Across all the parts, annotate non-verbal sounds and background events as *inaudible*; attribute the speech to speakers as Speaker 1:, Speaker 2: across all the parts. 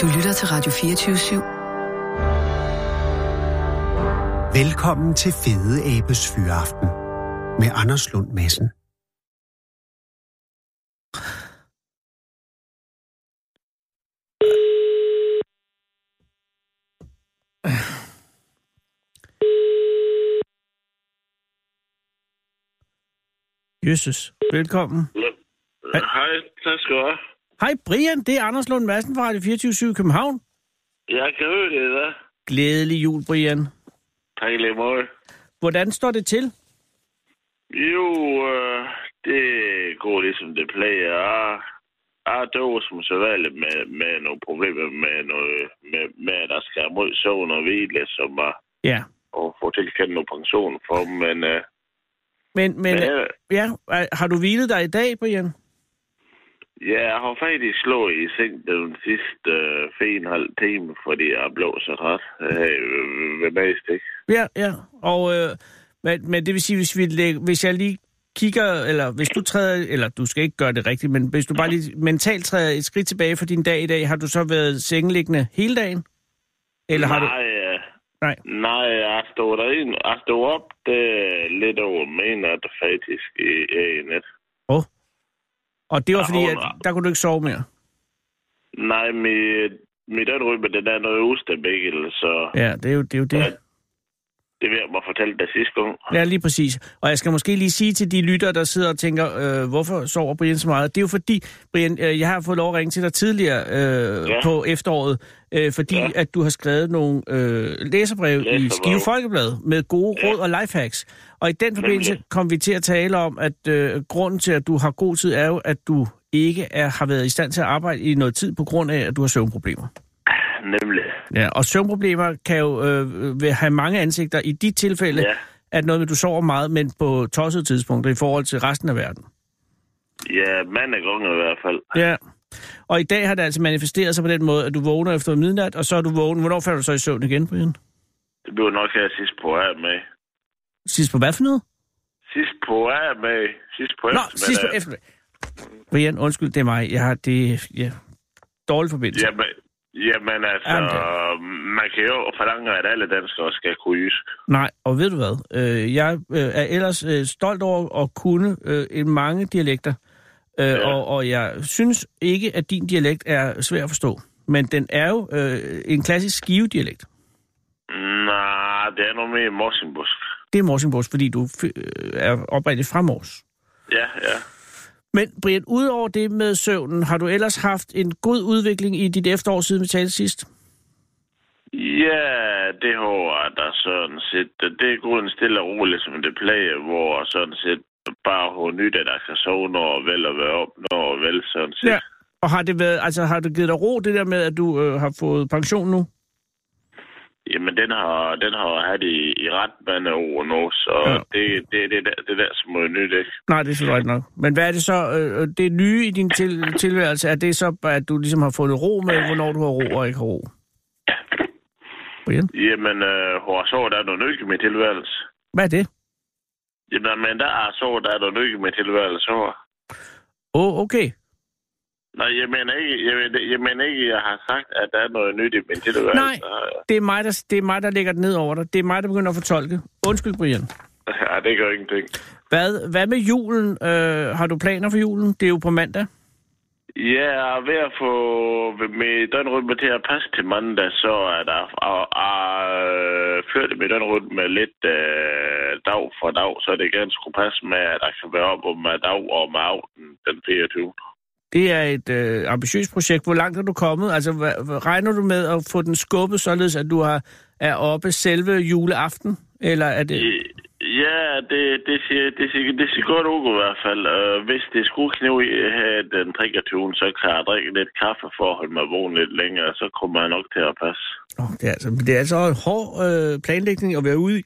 Speaker 1: Du lytter til Radio 24-7.
Speaker 2: Velkommen til Fede Abes Fyraften med Anders Lund Madsen.
Speaker 3: Jesus, velkommen.
Speaker 4: Ja, Hej, tak skal du have.
Speaker 3: Hej Brian, det er Anders Lund Madsen fra Radio 24 København.
Speaker 4: Jeg kan høre det der.
Speaker 3: Glædelig jul, Brian.
Speaker 4: Tak i lige måde.
Speaker 3: Hvordan står det til?
Speaker 4: Jo, øh, det går ligesom det plejer. Jeg- Jeg døver som så vanligt med, med nogle problemer med, noget, med, med at der skal mod søvn og hvile, som var
Speaker 3: Ja.
Speaker 4: og få tilkendt noget pension for, men, øh,
Speaker 3: Men, men
Speaker 4: men
Speaker 3: ja.
Speaker 4: øh,
Speaker 3: ja, har du hvilet dig i dag, Brian?
Speaker 4: ja, jeg har faktisk slået i seng den sidste øh, fire og en halv time, fordi jeg blev så træt øh, ved mest, ikke?
Speaker 3: Ja, ja. Og, øh, men, men det vil sige, hvis, vi lægger, hvis jeg lige kigger, eller hvis du træder, eller du skal ikke gøre det rigtigt, men hvis du bare lige mentalt træder et skridt tilbage for din dag i dag, har du så været sengeliggende hele dagen? Eller har du...
Speaker 4: Nej, øh,
Speaker 3: Nej.
Speaker 4: Nej, jeg stod derind. Jeg stod op det er lidt over mener det faktisk i, i net.
Speaker 3: Oh. Og det var
Speaker 4: Jeg
Speaker 3: fordi, at
Speaker 4: holder.
Speaker 3: der kunne du ikke sove mere?
Speaker 4: Nej, mit, mit øjenrymme, den er noget ustabil, så ja.
Speaker 3: Ja, det er jo det. Er jo det.
Speaker 4: Ja. det vil jeg mig fortælle dig sidste gang.
Speaker 3: Ja, lige præcis. Og jeg skal måske lige sige til de lyttere, der sidder og tænker, øh, hvorfor sover Brian så meget? Det er jo fordi, Brian, øh, jeg har fået lov at ringe til dig tidligere øh, ja.
Speaker 4: Ja.
Speaker 3: på efteråret, øh, fordi ja.
Speaker 4: Ja.
Speaker 3: at du har skrevet nogle øh, læserbrev i
Speaker 4: Læserbrev.
Speaker 3: Skive Folkeblad med gode ja.
Speaker 4: Ja.
Speaker 3: råd og lifehacks. Og i den forbindelse
Speaker 4: Nemlig.
Speaker 3: kom vi til at tale om, at øh, grunden til, at du har god tid, er jo, at du ikke er, har været i stand til at arbejde i noget tid på grund af, at du har søvnproblemer.
Speaker 4: Nemlig.
Speaker 3: Ja, og søvnproblemer kan jo øh, vil have mange ansigter. I dit tilfælde
Speaker 4: Ja.
Speaker 3: at noget med, du sover meget, men på tossede tidspunkter i forhold til resten af verden.
Speaker 4: Ja, mandag gange i hvert fald.
Speaker 3: Ja. Og i dag har det altså manifesteret sig på den måde, at du vågner efter midnat, og så er du vågen. Hvornår falder du så i søvn igen, Brian?
Speaker 4: Det bliver nok her sidst på af med.
Speaker 3: Sidst på hvad for noget?
Speaker 4: Sidst på af med. Sidst på øh,
Speaker 3: Nå,
Speaker 4: eftermiddag.
Speaker 3: sidst på eftermiddag. Brian, undskyld, det er mig. Jeg har det... Ja, dårlig forbindelse.
Speaker 4: Jamen, jamen altså,
Speaker 3: Jamen,
Speaker 4: man kan jo forlange, at alle danskere skal kunne jysk.
Speaker 3: Nej, og ved du hvad? Øh, jeg øh, er ellers øh, stolt over at kunne øh, en mange dialekter, øh, ja. og, og jeg synes ikke, at din dialekt er svær at forstå. Men den er jo øh, en klassisk skivedialekt.
Speaker 4: Nej, det er noget mere Morsingbusk.
Speaker 3: Det er Morsingborgs, fordi du f- øh, er oprindeligt fra Mors.
Speaker 4: Ja, ja.
Speaker 3: Men Brian, udover det med søvnen, har du ellers haft en god udvikling i dit efterår, siden vi talte sidst?
Speaker 4: Ja, det har der sådan set. Det er gået en stille og roligt, som det plejer, hvor jeg sådan set bare har nyt, at jeg kan sove, når jeg vil og være op, når jeg vil, sådan set. Ja.
Speaker 3: Og har det, været, altså, har det givet dig ro, det der med, at du øh, har fået pension nu?
Speaker 4: Jamen, den har, den har jeg haft i, i ret mange år nu, så
Speaker 3: Ja.
Speaker 4: ja. det, det, det, der, det der som er nyt, ikke?
Speaker 3: Nej, det er selvfølgelig nok. Men hvad er det så, øh, øh, det nye i din til- tilværelse? Er det så, at du ligesom har fundet ro med, hvornår du har ro og ikke har ro? Brian,
Speaker 4: Jamen, øh, hvor jeg så, der er noget nyt i min tilværelse.
Speaker 3: hvad er det?
Speaker 4: Jamen, men der er så, der er noget nyt i min tilværelse, hår.
Speaker 3: Åh, oh, okay.
Speaker 4: Nej, jeg mener ikke, jeg mener, jeg mener ikke, jeg har sagt, at der er noget nyt i min tilværelse.
Speaker 3: Det er, mig, der, det er mig, der lægger det ned over dig. Det er mig, der begynder at fortolke. Undskyld, Brian.
Speaker 4: Ja, det gør ingenting.
Speaker 3: Hvad, hvad med julen? Øh, har du planer for julen? Det er jo på mandag.
Speaker 4: Ja, jeg er ved at få mit døgnrytme til at passe til mandag, så er der og, og, øh, ført mit døgnrytme lidt øh, dag for dag, så det gerne skulle passe med, at der kan være op om øh, dag og om aftenen den 24.
Speaker 3: Det er et øh, ambitiøst projekt. Hvor langt er du kommet? Altså, hvad, hvad- regner du med at få den skubbet, således at du har, er oppe selve juleaften? Eller er det...
Speaker 4: Ja, det, det, ser, det, ser, det ser godt ud i hvert fald. Øh, Hvis det skulle knive i her den 23. så kan jeg drikke lidt kaffe for at holde mig vågen lidt længere, så kommer jeg nok til at passe.
Speaker 3: Oh, det, er altså, det er altså en hård øh, planlægning at være ude i.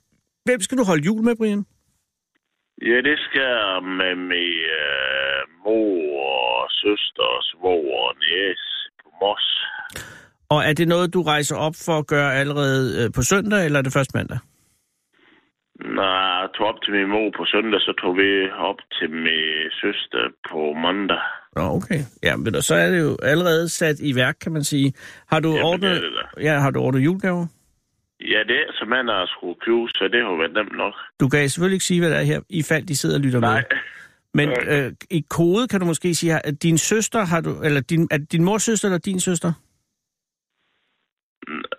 Speaker 3: Hvem skal du holde jul med, Brian?
Speaker 4: Ja, det skal jeg med min øh, mor og søster og svoger og næs på Mos.
Speaker 3: Og er det noget, du rejser op for at gøre allerede øh, på søndag, eller er det først mandag?
Speaker 4: Nej, jeg tog op til min mor på søndag, så tog vi op til min søster på mandag.
Speaker 3: Nå, okay. Ja, men så er det jo allerede sat i værk, kan man sige. Har du
Speaker 4: Jamen, det er
Speaker 3: ordnet,
Speaker 4: det
Speaker 3: ja, har du ordnet julegaver?
Speaker 4: Ja, det er som man har skulle købe, så det har været nemt nok.
Speaker 3: Du kan selvfølgelig ikke sige, hvad der er her, i fald de sidder og lytter med.
Speaker 4: Nej.
Speaker 3: Men
Speaker 4: Nej.
Speaker 3: øh, i kode kan du måske sige, at din søster har du, eller din, er det din mors søster eller din søster?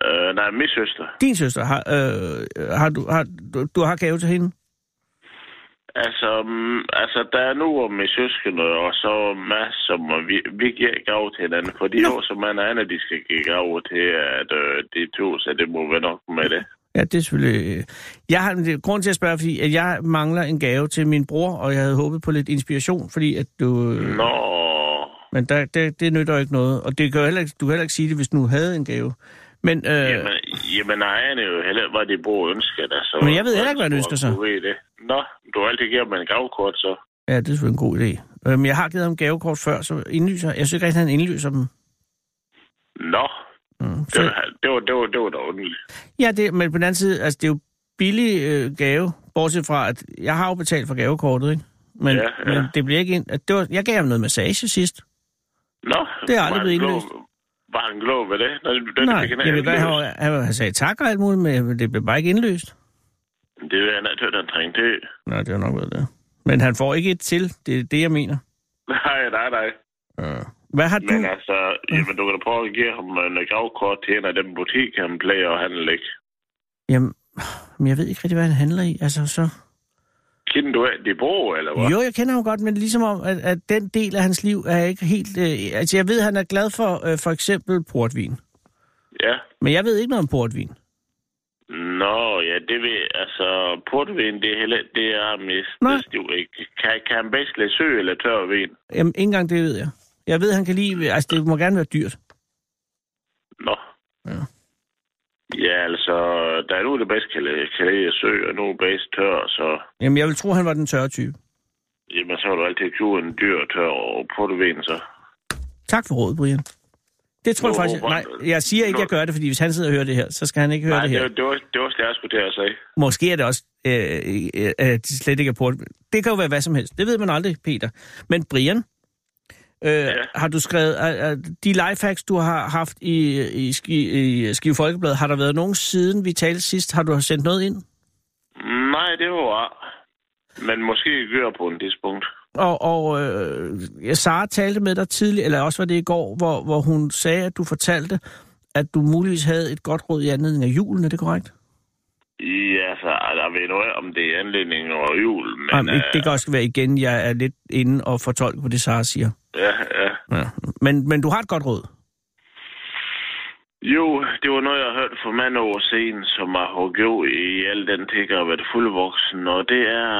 Speaker 4: Øh, nej, min søster.
Speaker 3: Din søster har, øh, har du, har, du, du har gave til hende?
Speaker 4: Altså, mm, altså, der er nu om min søskende, og så Mads, som vi, vi giver gav til hinanden. For de
Speaker 3: Nå.
Speaker 4: år, som man er, Anna, de skal give gav til, at øh, de to, så det må være nok med det.
Speaker 3: Ja, det er selvfølgelig... øh, Jeg har en grund til at spørge, fordi at jeg mangler en gave til min bror, og jeg havde håbet på lidt inspiration, fordi at du... øh,
Speaker 4: Nå,
Speaker 3: Men der, det, det nytter jo ikke noget, og det kan jo heller, ikke- du kan heller ikke sige det, hvis du havde en gave. Men, øh,
Speaker 4: jamen, jamen nej, Anna jo heller ikke, hvad de bruger ønsker der. Så,
Speaker 3: Men jeg ved heller ikke, hvad han ønsker sig.
Speaker 4: Du ved det. Nå, du har altid givet mig en gavkort, så.
Speaker 3: ja, det er selvfølgelig en god idé. Øh, men jeg har givet ham gavekort før, så indlyser... Jeg synes ikke rigtig, han indlyser dem.
Speaker 4: Nå,
Speaker 3: Mm.
Speaker 4: det
Speaker 3: Så,
Speaker 4: var, det var, det var, det var da underligt.
Speaker 3: ja, det, men på den anden side, altså, det er jo billig øh, gave, bortset fra, at jeg har jo betalt for gavekortet, ikke? Men,
Speaker 4: Ja,
Speaker 3: ja,
Speaker 4: ja.
Speaker 3: ja. men det bliver ikke ind... at Det var, jeg gav ham noget massage sidst.
Speaker 4: Nå,
Speaker 3: Det er
Speaker 4: var
Speaker 3: aldrig
Speaker 4: han
Speaker 3: blevet
Speaker 4: glad-
Speaker 3: indløst.
Speaker 4: Var han glad ved det? Nå, det, det
Speaker 3: Nej,
Speaker 4: fik han
Speaker 3: jeg vil
Speaker 4: ikke
Speaker 3: godt
Speaker 4: indløst.
Speaker 3: have, han, han sagde tak og alt muligt, men det blev bare ikke indløst.
Speaker 4: Det er han altid, han trængte til.
Speaker 3: Nej, det var nok været det. Men han får ikke et til, det er det, jeg mener.
Speaker 4: *laughs*
Speaker 3: Øh,
Speaker 4: Nej, nej, nej.
Speaker 3: Hvad har
Speaker 4: Men
Speaker 3: du...
Speaker 4: altså, jamen, du kan da prøve at give ham en gavkort til en af dem butik, han plejer at handle ikke.
Speaker 3: Jamen, men jeg ved ikke rigtig, hvad han handler i. Altså, så...
Speaker 4: Kender du af, de bruger, eller hvad?
Speaker 3: Jo, jeg kender ham godt, men ligesom om, at, at den del af hans liv er ikke helt... Øh, altså, jeg ved, han er glad for øh, for eksempel portvin.
Speaker 4: Ja.
Speaker 3: Men jeg ved ikke noget om portvin.
Speaker 4: Nå, ja, det ved, altså, portvin, det er heller, det er mest,
Speaker 3: Nej.
Speaker 4: det er ikke. Kan, kan han bedst lide sø eller tør vin?
Speaker 3: Jamen, ikke engang det ved jeg. Jeg ved, han kan lide... Altså, det må gerne være dyrt.
Speaker 4: Nå.
Speaker 3: Ja.
Speaker 4: Ja, altså, der er nu, der bedst kan lide, kan lide sø, og nu er bedst tør, så...
Speaker 3: Jamen, jeg vil tro, han var den tørre type.
Speaker 4: Jamen, så har du altid købe en dyr tør og portvin, så.
Speaker 3: Tak for rådet, Brian. Det tror jeg
Speaker 4: Nå,
Speaker 3: faktisk...
Speaker 4: hvor-
Speaker 3: Nej, jeg siger ikke, jeg gør det, fordi hvis han sidder og hører det her, så skal han ikke høre
Speaker 4: Nej,
Speaker 3: det
Speaker 4: det,
Speaker 3: her.
Speaker 4: var- det, var, det var også det, jeg skulle til at sige.
Speaker 3: Måske er det også, øh, øh, øh, det slet ikke er portvin. Det kan jo være hvad som helst. Det ved man aldrig, Peter. Men Brian, øh, ja. har du skrevet, øh, øh, de lifehacks, du har haft i, i, Ski, i Skive Folkeblad, har der været nogen siden vi talte sidst? Har du sendt noget ind?
Speaker 4: Nej, det var Men måske gør på en tidspunkt.
Speaker 3: Og, og øh, ja, Sara talte med dig tidligere, eller også var det i går, hvor, hvor hun sagde, at du fortalte, at du muligvis havde et godt råd i anledning af julen, er det korrekt?
Speaker 4: Ja, så der ved nu ikke, om det er anledning over jul, men...
Speaker 3: Jamen,
Speaker 4: øh,
Speaker 3: det kan også være igen, jeg er lidt inde og fortolker på det, Sara siger.
Speaker 4: øh, ja, ja.
Speaker 3: Ja. Men, men du har et godt råd?
Speaker 4: Jo, det var noget, jeg hørte for mange år siden, som jeg har gjort i al den ting, at været fuldvoksen, og det er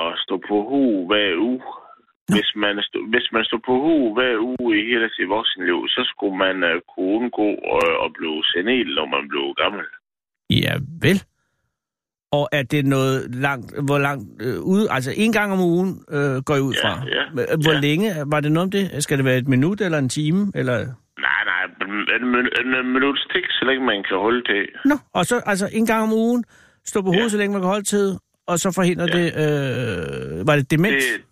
Speaker 4: at stå på hu hver uge. Hvis man, stod, hvis man stod på hu hver uge i hele sit voksenliv, så skulle man uh, kunne undgå uh, at blive senil, når man blev gammel.
Speaker 3: Ja, vel. Og er det noget langt, hvor langt øh, ud, altså en gang om ugen øh, går jeg ud
Speaker 4: Ja,
Speaker 3: fra. øh,
Speaker 4: ja,
Speaker 3: Hvor
Speaker 4: ja.
Speaker 3: længe, var det noget om det? Skal det være et minut eller en time? Eller?
Speaker 4: Nej, nej, en, en, en minuts tik, så længe man kan holde til.
Speaker 3: Nå, og så altså en gang om ugen, stå på hovedet,
Speaker 4: Ja.
Speaker 3: så længe man kan holde tid, og så forhindrer ja. det, øh, var det demens?
Speaker 4: Det,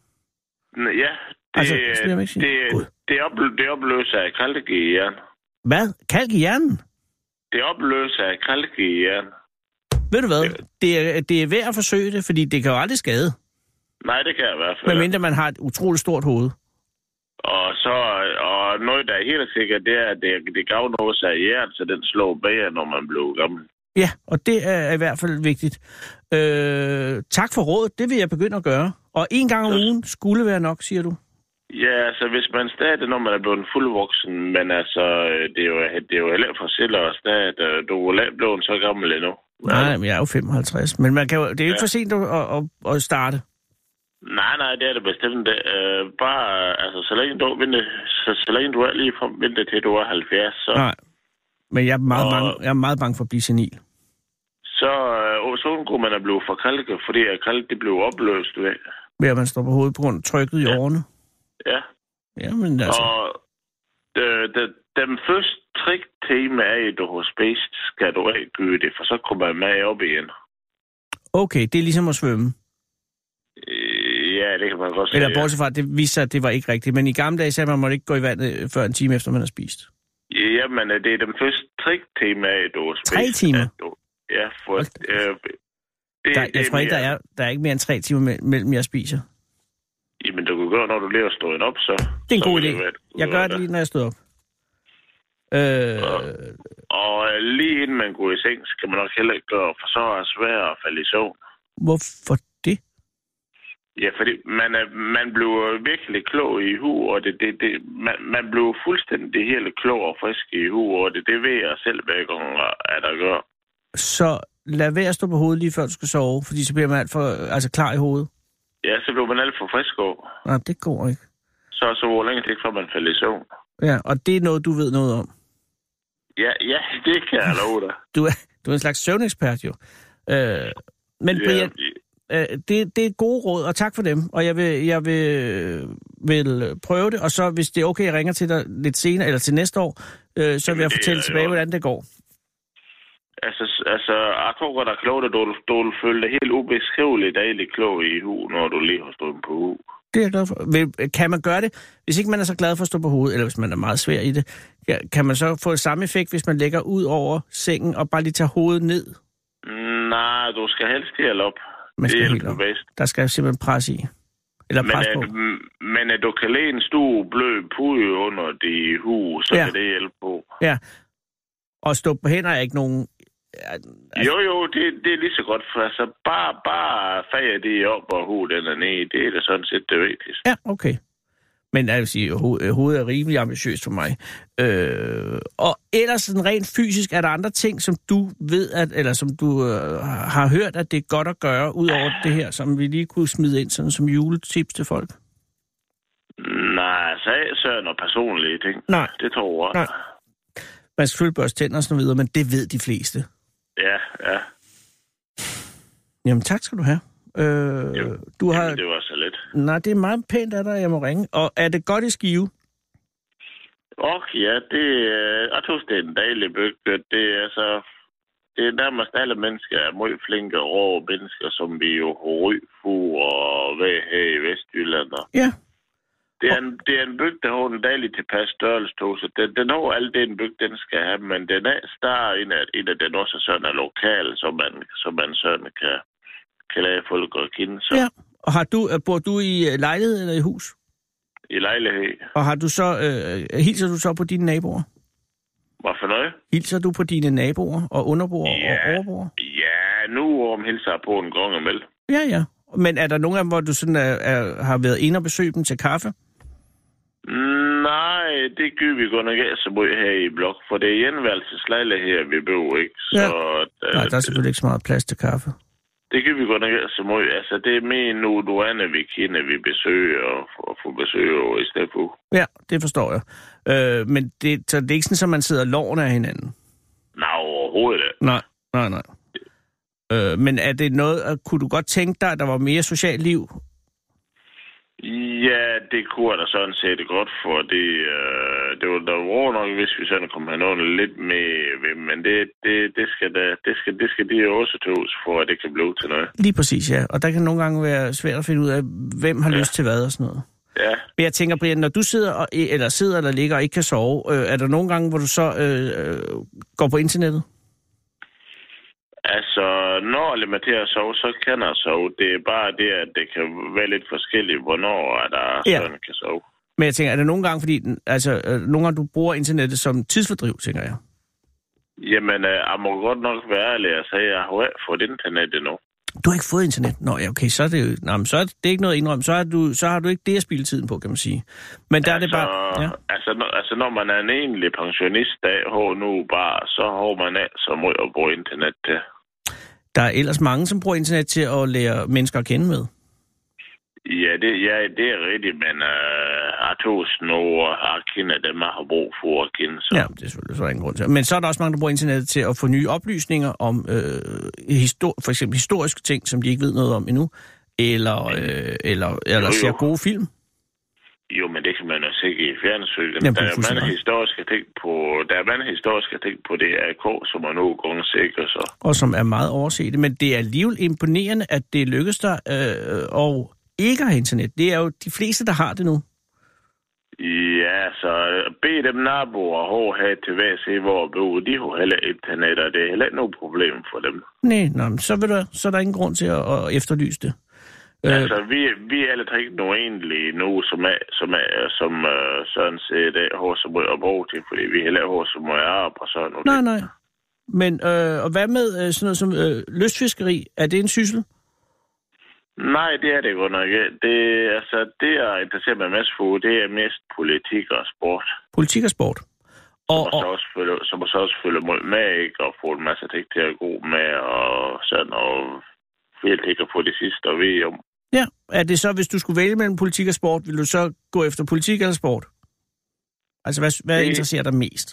Speaker 4: n- ja, det,
Speaker 3: Altså, det skal jeg ikke sige.
Speaker 4: det,
Speaker 3: Gud.
Speaker 4: det, opl- det opløser af kalk i jern.
Speaker 3: Hvad? Kalk i hjernen?
Speaker 4: Det opløser af kalk i jern.
Speaker 3: Ved du hvad? Det er, det er værd at forsøge det, fordi det kan jo aldrig skade,
Speaker 4: Nej, det kan jeg i hvert fald.
Speaker 3: medmindre man har et utroligt stort hoved.
Speaker 4: Og så og noget, der er helt sikkert, det er, at det, det gav noget sig af jern, så den slår bedre, når man blev gammel.
Speaker 3: Ja, og det er i hvert fald vigtigt. Øh, tak for rådet, det vil jeg begynde at gøre. Og en gang om ugen skulle være nok, siger du.
Speaker 4: Ja, altså hvis man stadig, når man er blevet fuldvoksen, men altså, øh, det er jo, det er jo heller for selv at stadig, øh, du er jo ikke blevet så gammel endnu.
Speaker 3: Nej, men jeg er jo 55. Men man kan jo, det er jo ikke for sent at, at, at, at starte.
Speaker 4: Nej, nej, det er det bestemt. Øh, bare, øh, altså, så længe du, venter, så, så længe du er lige fra venter til, du er 70, så,
Speaker 3: Nej. Men jeg er meget,
Speaker 4: Og-
Speaker 3: bange, jeg er meget bange for at blive senil.
Speaker 4: så, øh, så undgår man at blive forkalket, fordi at kalk, det blev opløst ved.
Speaker 3: Ved at man står på hovedet på grund af trykket i årene.
Speaker 4: Ja,
Speaker 3: Ja, men altså,
Speaker 4: og øh, de, den første trick tema er, at du har spist, skal du ikke gøre det, for så kommer man med op igen.
Speaker 3: okay, det er ligesom at svømme.
Speaker 4: Øh, ja, Ja, det kan man godt sige.
Speaker 3: Eller bortset fra, at det viste sig, at det var ikke rigtigt. Men i gamle dage sagde man, at man måtte ikke gå i vandet øh, før en time efter, man har spist.
Speaker 4: ja. Jamen, øh, det er den første triktema, du har
Speaker 3: Tre
Speaker 4: spist,
Speaker 3: timer?
Speaker 4: at Du, ja, for...
Speaker 3: Hold da
Speaker 4: Øh, det,
Speaker 3: Der, jeg tror ikke, der er, der er ikke mere end tre timer me- mellem, jeg spiser.
Speaker 4: Jamen, du kan gøre, når du lige har stået op, så...
Speaker 3: Det er en
Speaker 4: så
Speaker 3: god
Speaker 4: vil
Speaker 3: idé.
Speaker 4: være, at du
Speaker 3: Jeg gør det
Speaker 4: der.
Speaker 3: lige, når jeg stod op. Øh,
Speaker 4: Og øh, lige inden man går i seng, skal man nok heller ikke gøre, for så er det svært at falde i søvn.
Speaker 3: hvorfor det?
Speaker 4: Ja, fordi man, er, man bliver virkelig klog i hu, og det, det, det, man, man bliver fuldstændig helt klog og frisk i hu, og det, det ved jeg selv hver gang, at der gør.
Speaker 3: Så lad være at stå på hovedet lige før du skal sove, fordi så bliver man alt for altså, klar i hovedet.
Speaker 4: Ja, så bliver man alt for frisk over.
Speaker 3: Nej, det går ikke.
Speaker 4: Så så hvor længe det ikke, før man falder i søvn.
Speaker 3: Ja, og det er noget, du ved noget om.
Speaker 4: Ja, ja, det kan jeg love dig.
Speaker 3: Du er, du er en slags søvnekspert jo. Øh, men
Speaker 4: Ja,
Speaker 3: Brian, øh, det, det er gode råd, og tak for dem. Og jeg vil, jeg vil, øh, vil prøve det, og så hvis det er okay, jeg ringer til dig lidt senere, eller til næste år, øh, så vil
Speaker 4: Jamen,
Speaker 3: jeg
Speaker 4: det
Speaker 3: fortælle
Speaker 4: er i
Speaker 3: tilbage,
Speaker 4: orden.
Speaker 3: hvordan det går.
Speaker 4: altså, altså, jeg tror godt, at klogt, at du, du føler dig helt ubeskriveligt dejligt klog i hu, når du lige har stået på hu.
Speaker 3: Det er jeg glad for. Vil, kan man gøre det, hvis ikke man er så glad for at stå på hovedet, eller hvis man er meget svær i det, ja, kan man så få samme effekt, hvis man lægger ud over sengen og bare lige tager hovedet ned?
Speaker 4: Nej, du skal helst helt op.
Speaker 3: Man skal
Speaker 4: det
Speaker 3: helt
Speaker 4: hjælper
Speaker 3: op.
Speaker 4: bedst.
Speaker 3: Der skal simpelthen pres i. Eller
Speaker 4: Men øh,
Speaker 3: pres
Speaker 4: at,
Speaker 3: på.
Speaker 4: m- men at du kan lægge en stor blød pude under dit hus, så
Speaker 3: Ja.
Speaker 4: ja. kan det hjælpe på.
Speaker 3: Ja. Og stå på hænder er ikke nogen... er- er-
Speaker 4: Jo, jo, det, det er lige så godt, for altså bare, bare fager det op, og hu den er nede. Det er da sådan set det vigtigste.
Speaker 3: Ja, okay. Men jeg vil sige, ho- øh, hovedet er rimelig ambitiøst for mig. Øh, og ellers sådan rent fysisk, er der andre ting, som du ved, at, eller som du øh, har hørt, at det er godt at gøre, ud over det her, som vi lige kunne smide ind sådan som juletips til folk?
Speaker 4: Nej, så så er noget personlige ting.
Speaker 3: Nej.
Speaker 4: Det tror jeg.
Speaker 3: Nej. Man skal selvfølgelig børste tænder og sådan noget videre, men det ved de fleste.
Speaker 4: Ja, ja.
Speaker 3: Jamen tak skal du have. Øh,
Speaker 4: Jo.
Speaker 3: du har...
Speaker 4: Jamen, det var så lidt.
Speaker 3: Nej, det er meget pænt af dig, jeg må ringe. Og er det godt i skive?
Speaker 4: Og ja, det, øh, jeg tror, det er en dejlig bygd. Det er altså... Det er nærmest alle mennesker er meget flinke og rå mennesker, som vi jo har ry for og hvad her i Vestjylland. Og
Speaker 3: Ja.
Speaker 4: Det er, en, det er en bygd, der har en dejlig tilpas størrelse til, så den, den har alt det, en bygd den skal have, men den er større end at, end at den også sådan er lokal, så man, så man sådan kan, kan lade folk at kende sig
Speaker 3: ja. Og har du, øh, bor du i øh, lejlighed eller i hus?
Speaker 4: i lejlighed.
Speaker 3: Og har du så, øh, hilser du så på dine naboer?
Speaker 4: Hvad for noget?
Speaker 3: Hilser du på dine naboer og underboer yeah. og
Speaker 4: Ja.
Speaker 3: overboer?
Speaker 4: Ja, nu om hilser jeg på en gang imellem.
Speaker 3: Ja, ja. Men er der nogen af dem, hvor du sådan er, er, har været inde og besøge dem til kaffe?
Speaker 4: Nej, det gør vi godt nok ikke så meget her i blok, for det er enværelseslejligheder, vi bor ikke. Så
Speaker 3: Ja.
Speaker 4: ja.
Speaker 3: Nej, der er selvfølgelig ikke så meget plads til kaffe.
Speaker 4: Det kan vi godt nok ikke så meget. Altså, det er mere nu, du er, vi kender, vi besøger og, og får besøg over i stedet for.
Speaker 3: Ja, det forstår jeg. Øh, men det, så det er ikke sådan, at man sidder loven af hinanden?
Speaker 4: Nej, overhovedet ikke.
Speaker 3: Nej, nej, nej. Øh, men er det noget, at- kunne du godt tænke dig, at der var mere socialt liv?
Speaker 4: Ja, det kunne jeg da sådan set godt, for det, øh, det var da var nok, hvis vi sådan kom hernående lidt med, ved, men det, det, det, skal da, det, skal, det skal de jo også tøves for, at det kan blive til noget.
Speaker 3: Lige præcis, ja. Og der kan nogle gange være svært at finde ud af, hvem har ja. lyst til hvad og sådan noget.
Speaker 4: Ja,
Speaker 3: Men jeg tænker, Brian, når du sidder, og, eller sidder eller ligger og ikke kan sove, øh, er der nogle gange, hvor du så øh, øh, går på internettet?
Speaker 4: altså, når jeg er til at sove, så kan jeg sove. Det er bare det, at det kan være lidt forskelligt, hvornår at der
Speaker 3: Ja.
Speaker 4: ja. sådan kan sove.
Speaker 3: Men jeg tænker, er der nogle gange, fordi den- altså, øh, nogle gange du bruger internettet som tidsfordriv, tænker jeg.
Speaker 4: Jamen, øh, jeg må godt nok være ærlig og sige, at jeg har ikke fået internet endnu.
Speaker 3: Du har ikke fået internet. Nå ja, okay, så er det jo, nej, men så er det, det er ikke noget at indrømme. Så har, du, så har du ikke det at spille tiden på, kan man sige. Men der er det bare... Ja.
Speaker 4: altså, når, altså, når man er en egentlig pensionist, der har nu bare, så har man af så meget at bruge internet til.
Speaker 3: Der er ellers mange, som bruger internet til at lære mennesker at kende med.
Speaker 4: Ja, det, ja, det er rigtigt, men øh, jeg har to snore, og jeg kender dem, jeg har brug for at kende. Så.
Speaker 3: Ja, det er selvfølgelig så er der ingen grund til. Men så er der også mange, der bruger internettet til at få nye oplysninger om øh, histor- for eksempel historiske ting, som de ikke ved noget om endnu, eller, øh, eller, eller
Speaker 4: Jo,
Speaker 3: ser
Speaker 4: jo.
Speaker 3: gode film.
Speaker 4: Jo, men det kan man jo se i fjernsynet.
Speaker 3: Jamen,
Speaker 4: der
Speaker 3: det er
Speaker 4: er
Speaker 3: fuldstændig
Speaker 4: mange
Speaker 3: ret.
Speaker 4: historiske ting på, der er mange historiske ting på det AK, som er nogle gange sikker, så.
Speaker 3: og som er meget overset. Men det er alligevel imponerende, at det lykkedes dig øh, at ikke har internet. Det er jo de fleste, der har det nu.
Speaker 4: Ja, så bed dem naboer og have til hver se, hvor bor. De har heller internet, og det er heller ikke noget problem for dem.
Speaker 3: Nej, nå, men så, vil der, så er der ingen grund til at, at efterlyse det.
Speaker 4: Øh. Altså, vi, vi er alle tre ikke nogen egentlig nu, som, er, som, er, som øh, sådan set øh, har så meget at bruge til, fordi vi heller har så meget arbejde og sådan noget.
Speaker 3: nej, nej. Men øh, og hvad med øh, sådan noget som øh, lystfiskeri? Er det en syssel?
Speaker 4: Nej, det er det godt nok ikke. Det, altså, det, jeg interesserer mig mest for, det er mest politik og sport.
Speaker 3: Politik og sport. Og,
Speaker 4: Og så
Speaker 3: og,
Speaker 4: også følge, som så også følge mål med, ikke? Og få en masse ting til at gå med, og sådan, og helt ikke at få det sidste at vide om.
Speaker 3: ja, er det så, hvis du skulle vælge mellem politik og sport, vil du så gå efter politik eller sport? Altså, hvad, hvad
Speaker 4: Det-
Speaker 3: interesserer dig mest?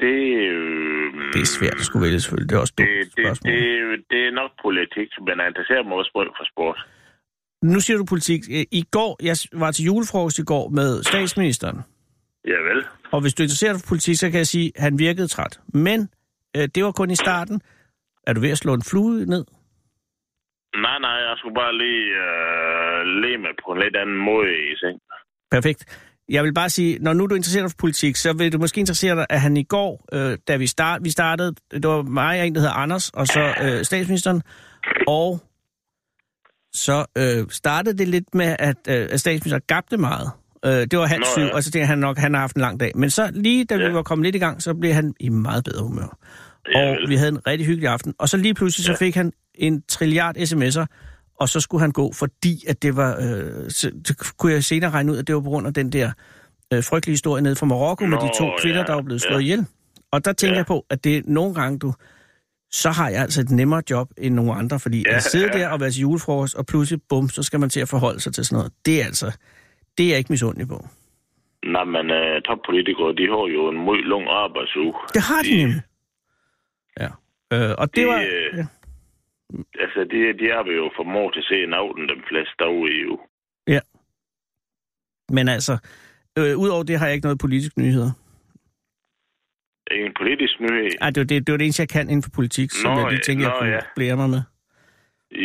Speaker 4: Det, øh,
Speaker 3: Det er svært at skulle vælge, selvfølgelig. Det er også et
Speaker 4: Det,
Speaker 3: dumt
Speaker 4: det,
Speaker 3: spørgsmål.
Speaker 4: det, det er nok politik, men jeg interesserer mig også meget for sport.
Speaker 3: Nu siger du politik. Øh, I går, jeg var til julefrokost i går med statsministeren.
Speaker 4: Ja vel.
Speaker 3: Og hvis du er interesseret for politik, så kan jeg sige, at han virkede træt. Men øh, det var kun i starten. Er du ved at slå en flue ned?
Speaker 4: Nej, nej, jeg skulle bare lige øh, leve mig på en lidt anden måde i seng.
Speaker 3: Perfekt. Jeg vil bare sige, når nu du interesserer dig for politik, så vil du måske interessere dig, at han i går, øh, da vi, start, vi startede, det var mig og en, der hedder Anders, og så øh, statsministeren, og så øh, startede det lidt med, at, øh, at statsministeren gabte meget. Øh, det var halv
Speaker 4: Nå,
Speaker 3: syv,
Speaker 4: ja.
Speaker 3: og så tænkte han nok, han har haft en lang dag. Men så lige da
Speaker 4: Ja.
Speaker 3: vi var kommet lidt i gang, så blev han i meget bedre humør.
Speaker 4: Ja,
Speaker 3: Og
Speaker 4: vel.
Speaker 3: vi havde en rigtig hyggelig aften. Og så lige pludselig, så fik han en trilliard sms'er, og så skulle han gå, fordi at det var... Øh, så, så kunne jeg senere regne ud, at det var på grund af den der øh, frygtelige historie nede fra Marokko med de to
Speaker 4: Nå,
Speaker 3: kvinder,
Speaker 4: ja,
Speaker 3: der var blevet
Speaker 4: ja.
Speaker 3: slået ihjel. Og der tænker
Speaker 4: Ja.
Speaker 3: jeg på, at det er nogle gange, du... Så har jeg altså et nemmere job end nogle andre, fordi
Speaker 4: Ja,
Speaker 3: at sidde
Speaker 4: ja.
Speaker 3: der og være til julefrokost, og pludselig, bum, så skal man til at forholde sig til sådan noget. Det er altså... Det er jeg ikke misundelig på.
Speaker 4: Nej, men øh, toppolitikere, de har jo en meget lang arbejdsuge.
Speaker 3: Det har de nemlig. Ja. Øh, og det
Speaker 4: Det,
Speaker 3: var...
Speaker 4: øh,
Speaker 3: Ja.
Speaker 4: Altså, de, de har vi jo for mor til sen aften, den fleste dage i jo.
Speaker 3: Men altså, øh, udover det har jeg ikke noget politisk nyheder.
Speaker 4: En politisk nyhed.
Speaker 3: Ej, det var det, det, var det eneste, jeg kan inden for politik, som
Speaker 4: Nå,
Speaker 3: jeg lige
Speaker 4: ja,
Speaker 3: tænkte, jeg
Speaker 4: nå,
Speaker 3: kunne
Speaker 4: ja.
Speaker 3: blære mig med.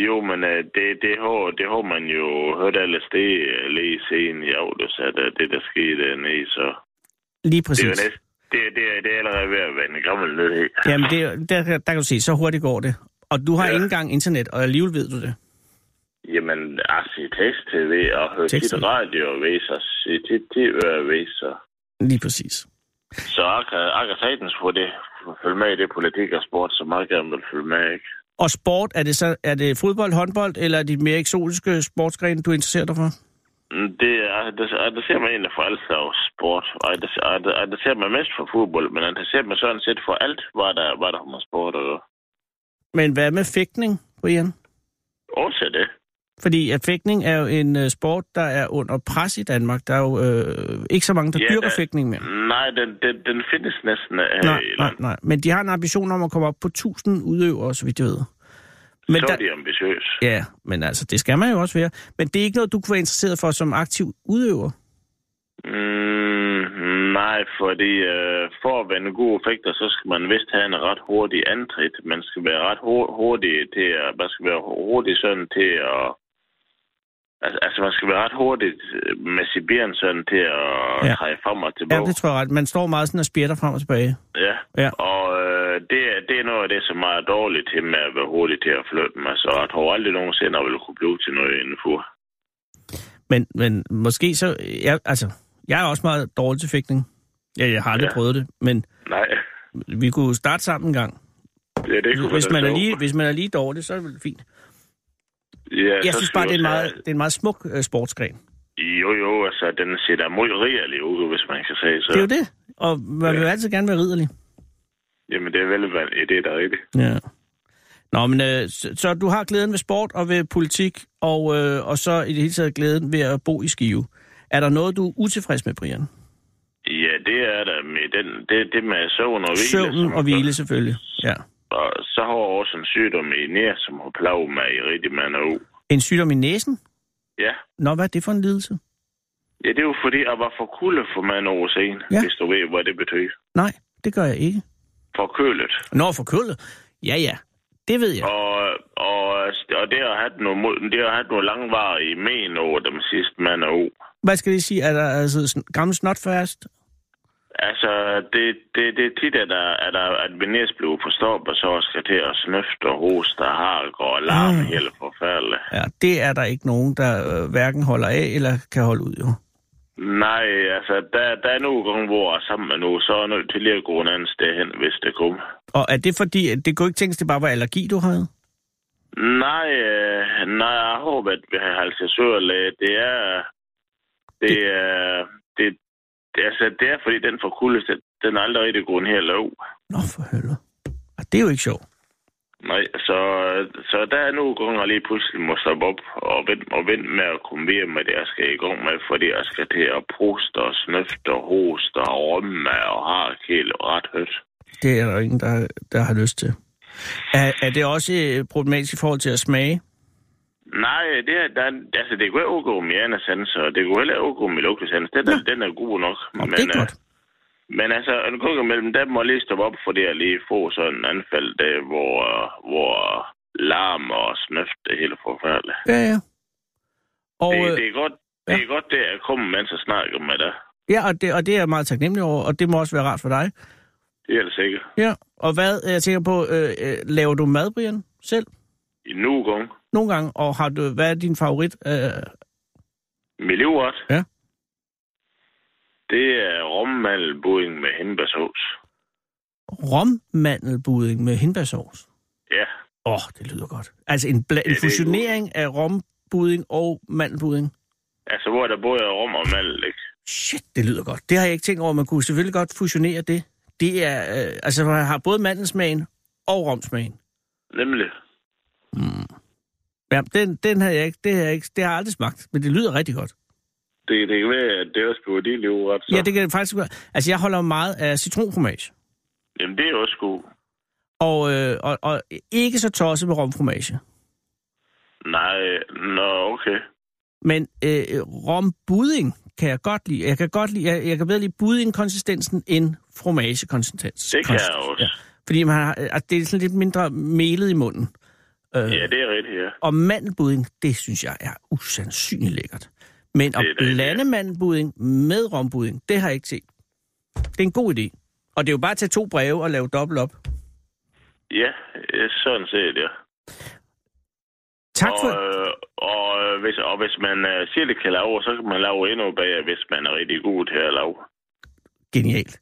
Speaker 4: Jo, men øh, det, det, har, det har man jo hørt alle steder øh, lige siden i aftes, at øh, det, der skete dernede, så...
Speaker 3: Lige
Speaker 4: Det er jo
Speaker 3: præcis.
Speaker 4: næsten, det, det, er- det er allerede ved at være en gammel nyhed.
Speaker 3: Jamen, det, er- der, der kan du se, så hurtigt går det. Og du har ja.
Speaker 4: Ja.
Speaker 3: ikke engang internet, og alligevel ved du det.
Speaker 4: Jamen, altså, at se tekst-tv og høre
Speaker 3: Tekst-tv.
Speaker 4: tit radioavis og se tit tv-avis. og-
Speaker 3: Lige præcis.
Speaker 4: Så jeg kan, jeg kan sagtens få det, følge med i det politik og sport, som jeg gerne vil følge med, ikke?
Speaker 3: Og sport, er det så er det fodbold, håndbold, eller er det de mere eksotiske sportsgrene, du interesserer dig for?
Speaker 4: Mm, Det, er- det, jeg- det ser man egentlig for alt slags sport. Og jeg- det, jeg- det, jeg- det ser man mest for fodbold, men jeg- det ser man sådan set for alt, hvad der, hvad der har med sport at gøre.
Speaker 3: Men hvad med fægtning, Brian?
Speaker 4: Også det.
Speaker 3: Fordi at fægtning er jo en øh, sport, der er under pres i Danmark. Der er jo øh, ikke så mange, der
Speaker 4: Ja,
Speaker 3: dyrker
Speaker 4: der-
Speaker 3: fægtning mere.
Speaker 4: Nej, den, den, den findes næsten øh,
Speaker 3: Nej,
Speaker 4: i
Speaker 3: nej,
Speaker 4: landet.
Speaker 3: nej. Men de har en ambition om at komme op på 1000 udøvere, så vidt jeg ved. Men
Speaker 4: Så
Speaker 3: der,
Speaker 4: er de ambitiøse.
Speaker 3: ja, men altså, det skal man jo også være. Men det er ikke noget, du kunne være interesseret for som aktiv udøver.
Speaker 4: Mm, nej, fordi øh, for at vende gode effekter, så skal man vist have en ret hurtig antrit. Man skal være ret hu- hurtig til at, man skal være hurtig sådan til at... Altså, altså man skal være ret hurtigt øh, med sit ben sådan til at
Speaker 3: Ja.
Speaker 4: ja. træde frem og
Speaker 3: Ja,
Speaker 4: tilbage.
Speaker 3: det tror jeg ret. Man står meget sådan og spjætter frem og tilbage.
Speaker 4: Ja.
Speaker 3: Ja.
Speaker 4: Og øh, det, er- det er noget af det, som er dårligt til med at være hurtig til at flytte mig. Så jeg tror aldrig nogensinde, jeg vil kunne blive til noget indenfor.
Speaker 3: Men, men måske så... Jeg, altså, jeg er også meget dårlig til fægtning. Ja, jeg har aldrig ja.
Speaker 4: Ja.
Speaker 3: prøvet det, men
Speaker 4: Nej,
Speaker 3: vi kunne starte sammen en gang.
Speaker 4: det, det kunne
Speaker 3: Hvis
Speaker 4: være
Speaker 3: man, er
Speaker 4: sjovt.
Speaker 3: lige, hvis man er lige dårlig, så er det vel fint.
Speaker 4: ja,
Speaker 3: Jeg
Speaker 4: så
Speaker 3: synes
Speaker 4: skal
Speaker 3: bare,
Speaker 4: vi
Speaker 3: det er en
Speaker 4: også
Speaker 3: meget,
Speaker 4: have-
Speaker 3: det er en meget smuk øh, sportsgren.
Speaker 4: Jo, jo, altså, den ser da meget rigelig ud, hvis man kan sige så.
Speaker 3: Det er jo det, og man vil jo altid gerne være ridderlig.
Speaker 4: Jamen, det er vel, hvad- ja, det er da rigtigt.
Speaker 3: Ja. Nå, men øh, så, så du har glæden ved sport og ved politik, og, øh, og så i det hele taget glæden ved at bo i Skive. Er der noget, du er utilfreds med, Brian?
Speaker 4: Ja, det er der med den, det, det med søvn og hvile.
Speaker 3: Søvnen
Speaker 4: som-
Speaker 3: og hvile selvfølgelig, ja.
Speaker 4: Og så har jeg også en sygdom i nær, som har plaget mig i rigtig mange år.
Speaker 3: En sygdom i næsen?
Speaker 4: Ja.
Speaker 3: Nå, hvad er det for en lidelse?
Speaker 4: ja, det er jo fordi, jeg var for kulde for mange år siden,
Speaker 3: Ja.
Speaker 4: ja. hvis du ved, hvad det betyder.
Speaker 3: Nej, det gør jeg ikke.
Speaker 4: For kølet.
Speaker 3: Nå, for kølet? Ja, ja, det ved jeg.
Speaker 4: Og, og også, og det har haft nogle, mod- det har haft nogle langvarige men over dem sidste mand og år.
Speaker 3: Hvad skal det sige? Er der altså sn- gammel snot først?
Speaker 4: Altså, det, det, det er tit, at, der, at, der, at min næs bliver forstoppet, og så skal til at snøfte og hoste og hark og larme
Speaker 3: Ah.
Speaker 4: mm. hele forfærdeligt.
Speaker 3: Ja, det er der ikke nogen, der øh, hverken holder af eller kan holde ud, jo.
Speaker 4: Nej, altså, der, der er nogle gange, hvor jeg er sammen med nogen, så er jeg nødt til lige at gå en anden sted hen, hvis det kommer.
Speaker 3: Og er det fordi, at det kunne ikke tænkes, det bare var allergi, du havde?
Speaker 4: Nej, øh, nej, jeg håber, at vi har halsasørlæge. Det er... Det er... Det, det, altså, det er, fordi den forkuldelse, den er aldrig rigtig gået her lav.
Speaker 3: Nå, for helvede. Og det er jo ikke sjovt.
Speaker 4: Nej, så, så der er nogle gange, jeg lige pludselig må stoppe op og vente, og vente med at komme videre med det, jeg skal i gang med, fordi jeg skal til at proste og snøfte og hoste og rømme og har helt ret højt.
Speaker 3: Det er der jo ingen, der, der har lyst til. Er, er det også øh, problematisk i forhold til at smage?
Speaker 4: Nej, det, er, der, er- altså, det kunne ikke udgå min anesans, og det kunne heller ikke udgå min lugtesans. Den, er, den er god nok.
Speaker 3: Nå, det er
Speaker 4: øh,
Speaker 3: godt.
Speaker 4: Men altså, en gang imellem, der må jeg lige stoppe op, fordi jeg lige får sådan en anfald, der, hvor, hvor larm og snøft det hele forfærdeligt.
Speaker 3: Ja, ja. Og,
Speaker 4: det,
Speaker 3: øh,
Speaker 4: det, er godt,
Speaker 3: ja.
Speaker 4: det er godt, det er at komme, mens jeg snakker med dig.
Speaker 3: ja, og, det, og det er jeg meget taknemmelig over, og det må også være rart for dig.
Speaker 4: Det er det sikkert.
Speaker 3: Ja, og hvad, jeg tænker på, øh, øh, laver du mad, Brian, selv?
Speaker 4: I nu gang.
Speaker 3: Nogle gange, og har du, hvad er din favorit? Øh,
Speaker 4: Miljøret.
Speaker 3: Ja.
Speaker 4: Det er rommandelbudding med hindbærsovs.
Speaker 3: rommandelbudding med hindbærsovs.
Speaker 4: Ja,
Speaker 3: Åh, oh, det lyder godt. Altså en, bla- en
Speaker 4: det er
Speaker 3: fusionering af rombudding og mandelbudding.
Speaker 4: altså hvor der både er rom og mandel, ikke?
Speaker 3: Shit, det lyder godt. Det har jeg ikke tænkt over. Man kunne selvfølgelig godt fusionere det. Det er, øh, altså man har både mandelsmagen og romsmagen.
Speaker 4: Nemlig.
Speaker 3: Ja, den, den har jeg ikke, det har jeg ikke, det har jeg aldrig smagt, men det lyder rigtig godt.
Speaker 4: Det, det kan være, at det også bliver din livret.
Speaker 3: Så. Ja, det kan det faktisk være. Altså, jeg holder meget af citronfromage,
Speaker 4: Jamen, det er også god.
Speaker 3: og, øh, og, og ikke så tosset med romfromage.
Speaker 4: Nej, nå, okay.
Speaker 3: Men øh, rombudding kan jeg godt lide. Jeg kan, godt lide, jeg, jeg kan bedre lide buddingkonsistensen end fromagekonsistensen.
Speaker 4: Det kan jeg også.
Speaker 3: Ja. Fordi man har, altså, det er sådan lidt mindre melet i munden. Øh,
Speaker 4: Ja, det er rigtigt, ja.
Speaker 3: Og mandelbudding, det synes jeg er usandsynligt lækkert. Men at
Speaker 4: Det er det,
Speaker 3: blande
Speaker 4: ja.
Speaker 3: mandelbudding med rombudding, det har jeg ikke set. Det er en god idé. Og det er jo bare at tage to breve og lave dobbelt op.
Speaker 4: Ja, øh, sådan set, ja.
Speaker 3: Tak for...
Speaker 4: Og, øh, og, øh, hvis, og hvis man øh, siger, det kan lave, så kan man lave endnu bedre, hvis man er rigtig god til at lave.
Speaker 3: Genialt.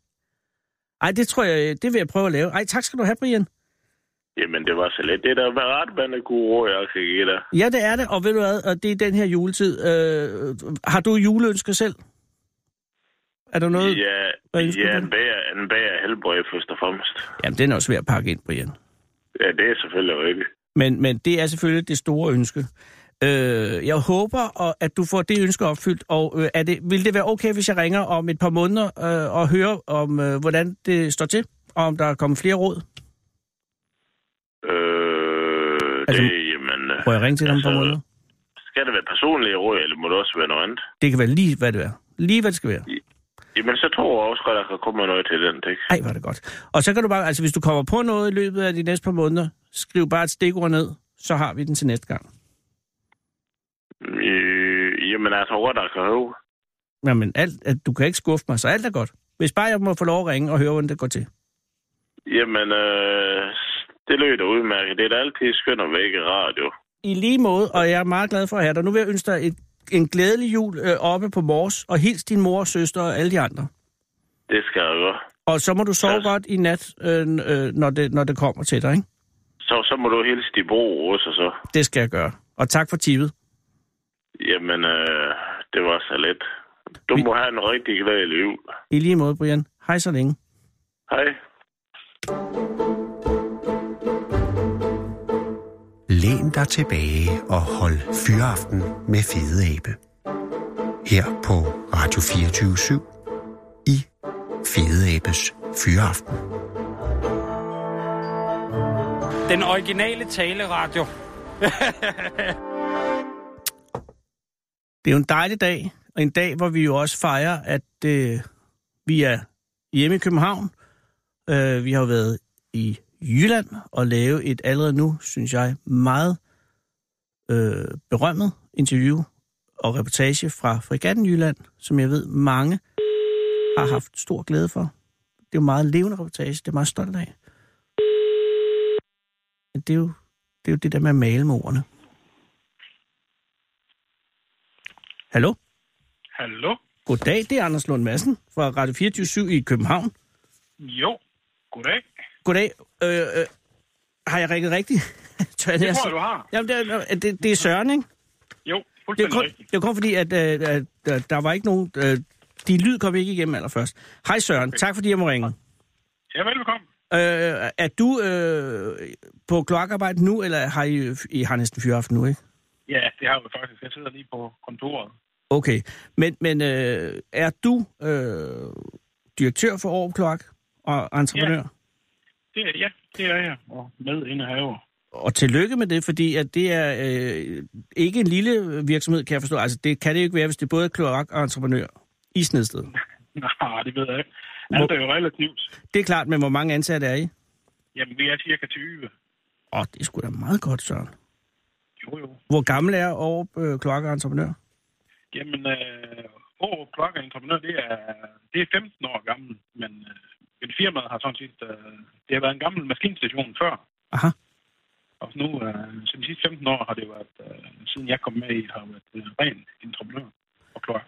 Speaker 3: Ej, det tror jeg, øh, det vil jeg prøve at lave. Ej, tak skal du have, Brian.
Speaker 4: Jamen, det var så let. Det er da ret, man er god råd, jeg kan give dig.
Speaker 3: Ja, det er det, og ved du hvad, og det er den her juletid. Øh, har du juleønsker selv? Er der noget?
Speaker 4: Ja,
Speaker 3: hvad ønsker
Speaker 4: ja
Speaker 3: du?
Speaker 4: en bager, en bager helbred først og fremmest.
Speaker 3: Jamen, den er også ved at pakke ind, Brian.
Speaker 4: Ja, det er selvfølgelig rigtigt.
Speaker 3: Men, men det er selvfølgelig det store ønske. Øh, jeg håber, og- at du får det ønske opfyldt, og øh, er det, vil det være okay, hvis jeg ringer om et par måneder øh, og hører om, øh, hvordan det står til, og om der er kommet flere råd?
Speaker 4: Øh,
Speaker 3: Altså,
Speaker 4: altså, det, jamen, øh,
Speaker 3: Må jeg ringe til dig om et par
Speaker 4: Altså-
Speaker 3: måneder?
Speaker 4: skal det være personlige råd, eller må det også være noget andet?
Speaker 3: Det kan være lige, hvad det er. Lige, hvad det skal være.
Speaker 4: Jamen, så tror jeg også godt, at der kan komme noget til den, ikke?
Speaker 3: Ej, var det godt. Og så kan du bare, altså hvis du kommer på noget i løbet af de næste par måneder, skriv bare et stikord ned, så har vi den til næste gang.
Speaker 4: Øh, jamen, jeg tror godt, der kan høre.
Speaker 3: Jamen, alt, at du kan ikke skuffe mig, så alt er godt. Hvis bare jeg må få lov at ringe og høre, hvordan det går til.
Speaker 4: Jamen, øh, det lød da udmærket. Det er da altid skønt at vække radio.
Speaker 3: I lige måde, og jeg er meget glad for at have dig. Nu vil jeg ønske dig et, en glædelig jul øh, oppe på Mors, og hils din mor, søster og alle de andre.
Speaker 4: Det skal jeg gøre.
Speaker 3: Og så må du sove
Speaker 4: Ja.
Speaker 3: godt i nat, øh, øh, når, det, når det kommer til dig, ikke?
Speaker 4: Så, så må du hilse de bro også, så.
Speaker 3: Det skal jeg gøre. Og tak for tippet.
Speaker 4: Jamen, øh, det var så let. Du
Speaker 3: Vi-
Speaker 4: må have en rigtig glædelig jul.
Speaker 3: I lige måde, Brian. Hej så længe.
Speaker 4: Hej.
Speaker 2: Læn dig tilbage og hold fyraften med Fede Abe. Her på Radio 24 i Fede Abes Fyraften.
Speaker 5: Den originale taleradio.
Speaker 3: Det er jo en dejlig dag, og en dag, hvor vi jo også fejrer, at øh, vi er hjemme i København. Øh, vi har jo været i Jylland og lave et allerede nu, synes jeg, meget øh, berømmet interview og reportage fra Fregatten Jylland, som jeg ved mange har haft stor glæde for. Det er jo meget levende reportage, det er jeg meget stolt af. Men det er jo det, er jo det der med at male med ordene. Hallo?
Speaker 6: Hallo?
Speaker 3: Goddag, det er Anders Lund Madsen fra Radio 24 i København.
Speaker 6: Jo, goddag.
Speaker 3: Goddag. Øh, øh, har jeg rigget rigtigt? *laughs* Tør jeg
Speaker 6: Det
Speaker 3: nær
Speaker 6: tror
Speaker 3: sige?
Speaker 6: jeg, du har.
Speaker 3: Jamen, det, er- det, det er Søren, ikke?
Speaker 6: Jo,
Speaker 3: Det er
Speaker 6: fuldstændig
Speaker 3: kun,
Speaker 6: rigtigt.
Speaker 3: det er kun fordi, at, øh, at, at der var ikke nogen... Øh, din lyd kom ikke igennem allerførst. Hej Søren, tak fordi jeg må ringe.
Speaker 6: Ja, velbekomme.
Speaker 3: Øh, er du øh, på kloakarbejde nu, eller har I, I har næsten fyraften nu, ikke?
Speaker 6: Ja, det har vi faktisk. Jeg sidder lige på kontoret.
Speaker 3: Okay, men, men øh, er du øh, direktør for Aarhus Kloak og entreprenør? Ja.
Speaker 6: Det er, ja, det er jeg. Og *laughs* medindehaver.
Speaker 3: Og tillykke med det, fordi at det er øh, ikke en lille virksomhed, kan jeg forstå. Altså, det kan det jo ikke være, hvis det både er kloak og entreprenør i Snedsted.
Speaker 6: Nej, det ved jeg ikke. Alt er jo relativt.
Speaker 3: Det er klart, men hvor mange ansatte er I?
Speaker 6: Jamen, vi er cirka 20.
Speaker 3: Åh, det er sgu da meget godt, Søren.
Speaker 6: Jo, jo.
Speaker 3: Hvor gammel er Aarup øh, kloak og entreprenør?
Speaker 6: Jamen, øh, Aarup Klokke Entreprenør, det er, det er 15 år gammel, men, øh, men firmaet har sådan set, øh, det har været en gammel maskinstation før.
Speaker 3: Aha.
Speaker 6: Og nu, øh, som de sidste 15 år, har det været, øh, siden jeg kom med i, har været øh, ren entreprenør og klokke.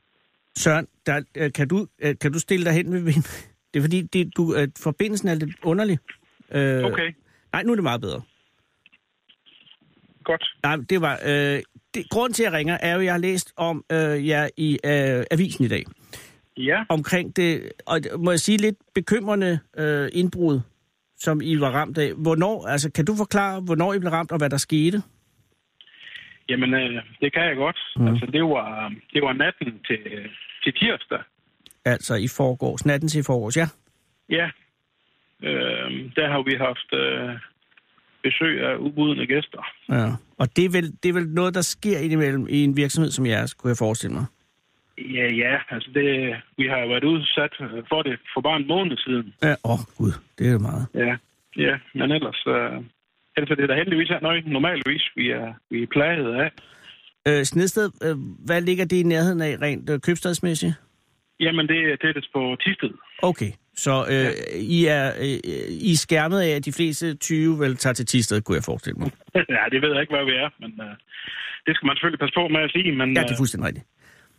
Speaker 3: Søren, der, øh, kan, du, øh, kan du stille dig hen ved min? *laughs* Det er fordi, det, du, øh, forbindelsen er lidt underlig. Øh,
Speaker 6: Okay,
Speaker 3: Nej, nu er det meget bedre.
Speaker 6: godt.
Speaker 3: Nej, det var... Øh, det, grunden til, at jeg ringer, er jo, at jeg har læst om øh, jer i øh, avisen i dag.
Speaker 6: Ja,
Speaker 3: omkring det, og det- må jeg sige lidt bekymrende øh, indbrud, som I var ramt af. Hvornår, altså kan du forklare, hvornår I blev ramt, og hvad der skete?
Speaker 6: jamen, øh, det kan jeg godt. Mm. Altså, det var, det var natten til, øh, til tirsdag.
Speaker 3: Altså i forgårs, natten til i forgårs, ja.
Speaker 6: Ja, øh, der har vi haft øh, besøg af ubudne gæster.
Speaker 3: ja. Og det er, vel, det er vel noget, der sker indimellem i en virksomhed som jeres, kunne jeg forestille mig.
Speaker 6: Ja, ja. Altså det, vi har jo været udsat øh, for det for bare en måned siden.
Speaker 3: Ja, åh gud, det er jo meget.
Speaker 6: Ja, ja. Men ellers, øh, ellers er det da heldigvis er noget, normalvis, vi er, vi er plaget af.
Speaker 3: Øh, Snedsted, øh, hvad ligger det i nærheden af rent øh, købstadsmæssigt?
Speaker 6: Jamen, det er tættest på Tisted.
Speaker 3: Okay, så øh, ja. I, er, øh, I er skærmet af, at de fleste 20 vel tager til Tisted, kunne jeg forestille mig.
Speaker 6: *laughs* ja, det ved jeg ikke, hvad vi er, men øh, det skal man selvfølgelig passe på med at sige. Men,
Speaker 3: Ja, det er
Speaker 6: øh,
Speaker 3: fuldstændig rigtigt.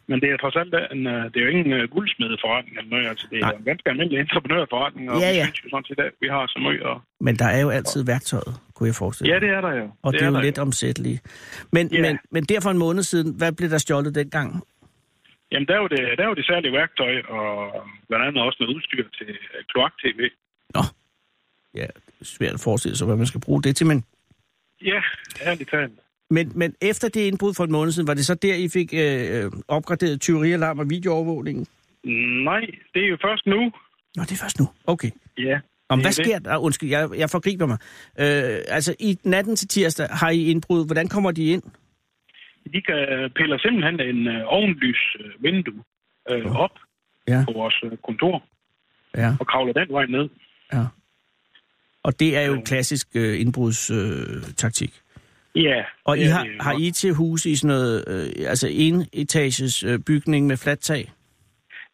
Speaker 6: men det er trods alt, en, øh, det er jo ingen øh, guldsmedeforretning eller noget. Altså, det er
Speaker 3: Nej.
Speaker 6: jo en ganske almindelig entreprenørforretning, og
Speaker 3: Ja,
Speaker 6: ja,
Speaker 3: ja.
Speaker 6: ja. vi synes jo sådan set, at vi har så meget. Og...
Speaker 3: Men der er jo altid værktøjet, kunne jeg forestille
Speaker 6: Ja,
Speaker 3: mig.
Speaker 6: det er der jo.
Speaker 3: Og det, det er jo
Speaker 6: der
Speaker 3: let omsættelige. Men,
Speaker 6: Ja.
Speaker 3: yeah. men, men der for en måned siden, hvad blev der stjålet dengang?
Speaker 6: Jamen, der er, jo det, der er jo det særlige værktøj, og blandt andet også noget udstyr til øh, kloak-tv.
Speaker 3: Ja, det er svært at forestille sig, hvad man skal bruge det til. Men,
Speaker 6: Ja, ærligt talt.
Speaker 3: men, men efter det indbrud for en måned siden, var det så der, I fik øh, øh, opgraderet tyverialarm og videoovervågningen?
Speaker 6: Nej, det er jo først nu.
Speaker 3: Nå, det er først nu. Okay.
Speaker 6: Ja.
Speaker 3: Om,
Speaker 6: Det er
Speaker 3: hvad
Speaker 6: det.
Speaker 3: sker der? Ah, Undskyld, jeg, jeg forgriber mig. Øh, altså, i natten til tirsdag har I indbrud. Hvordan kommer de ind?
Speaker 6: De kan øh, piller simpelthen en øh, ovenlys øh, vindue øh, op
Speaker 3: Ja.
Speaker 6: ja. på vores øh, kontor
Speaker 3: Ja,
Speaker 6: og kravler den vej ned.
Speaker 3: ja. Og det er jo klassisk øh, indbrudstaktik. Øh, taktik.
Speaker 6: Ja.
Speaker 3: Og I
Speaker 6: ja,
Speaker 3: har,
Speaker 6: det er
Speaker 3: har
Speaker 6: godt.
Speaker 3: I til hus i sådan noget, øh, altså en etages øh, bygning med fladt tag?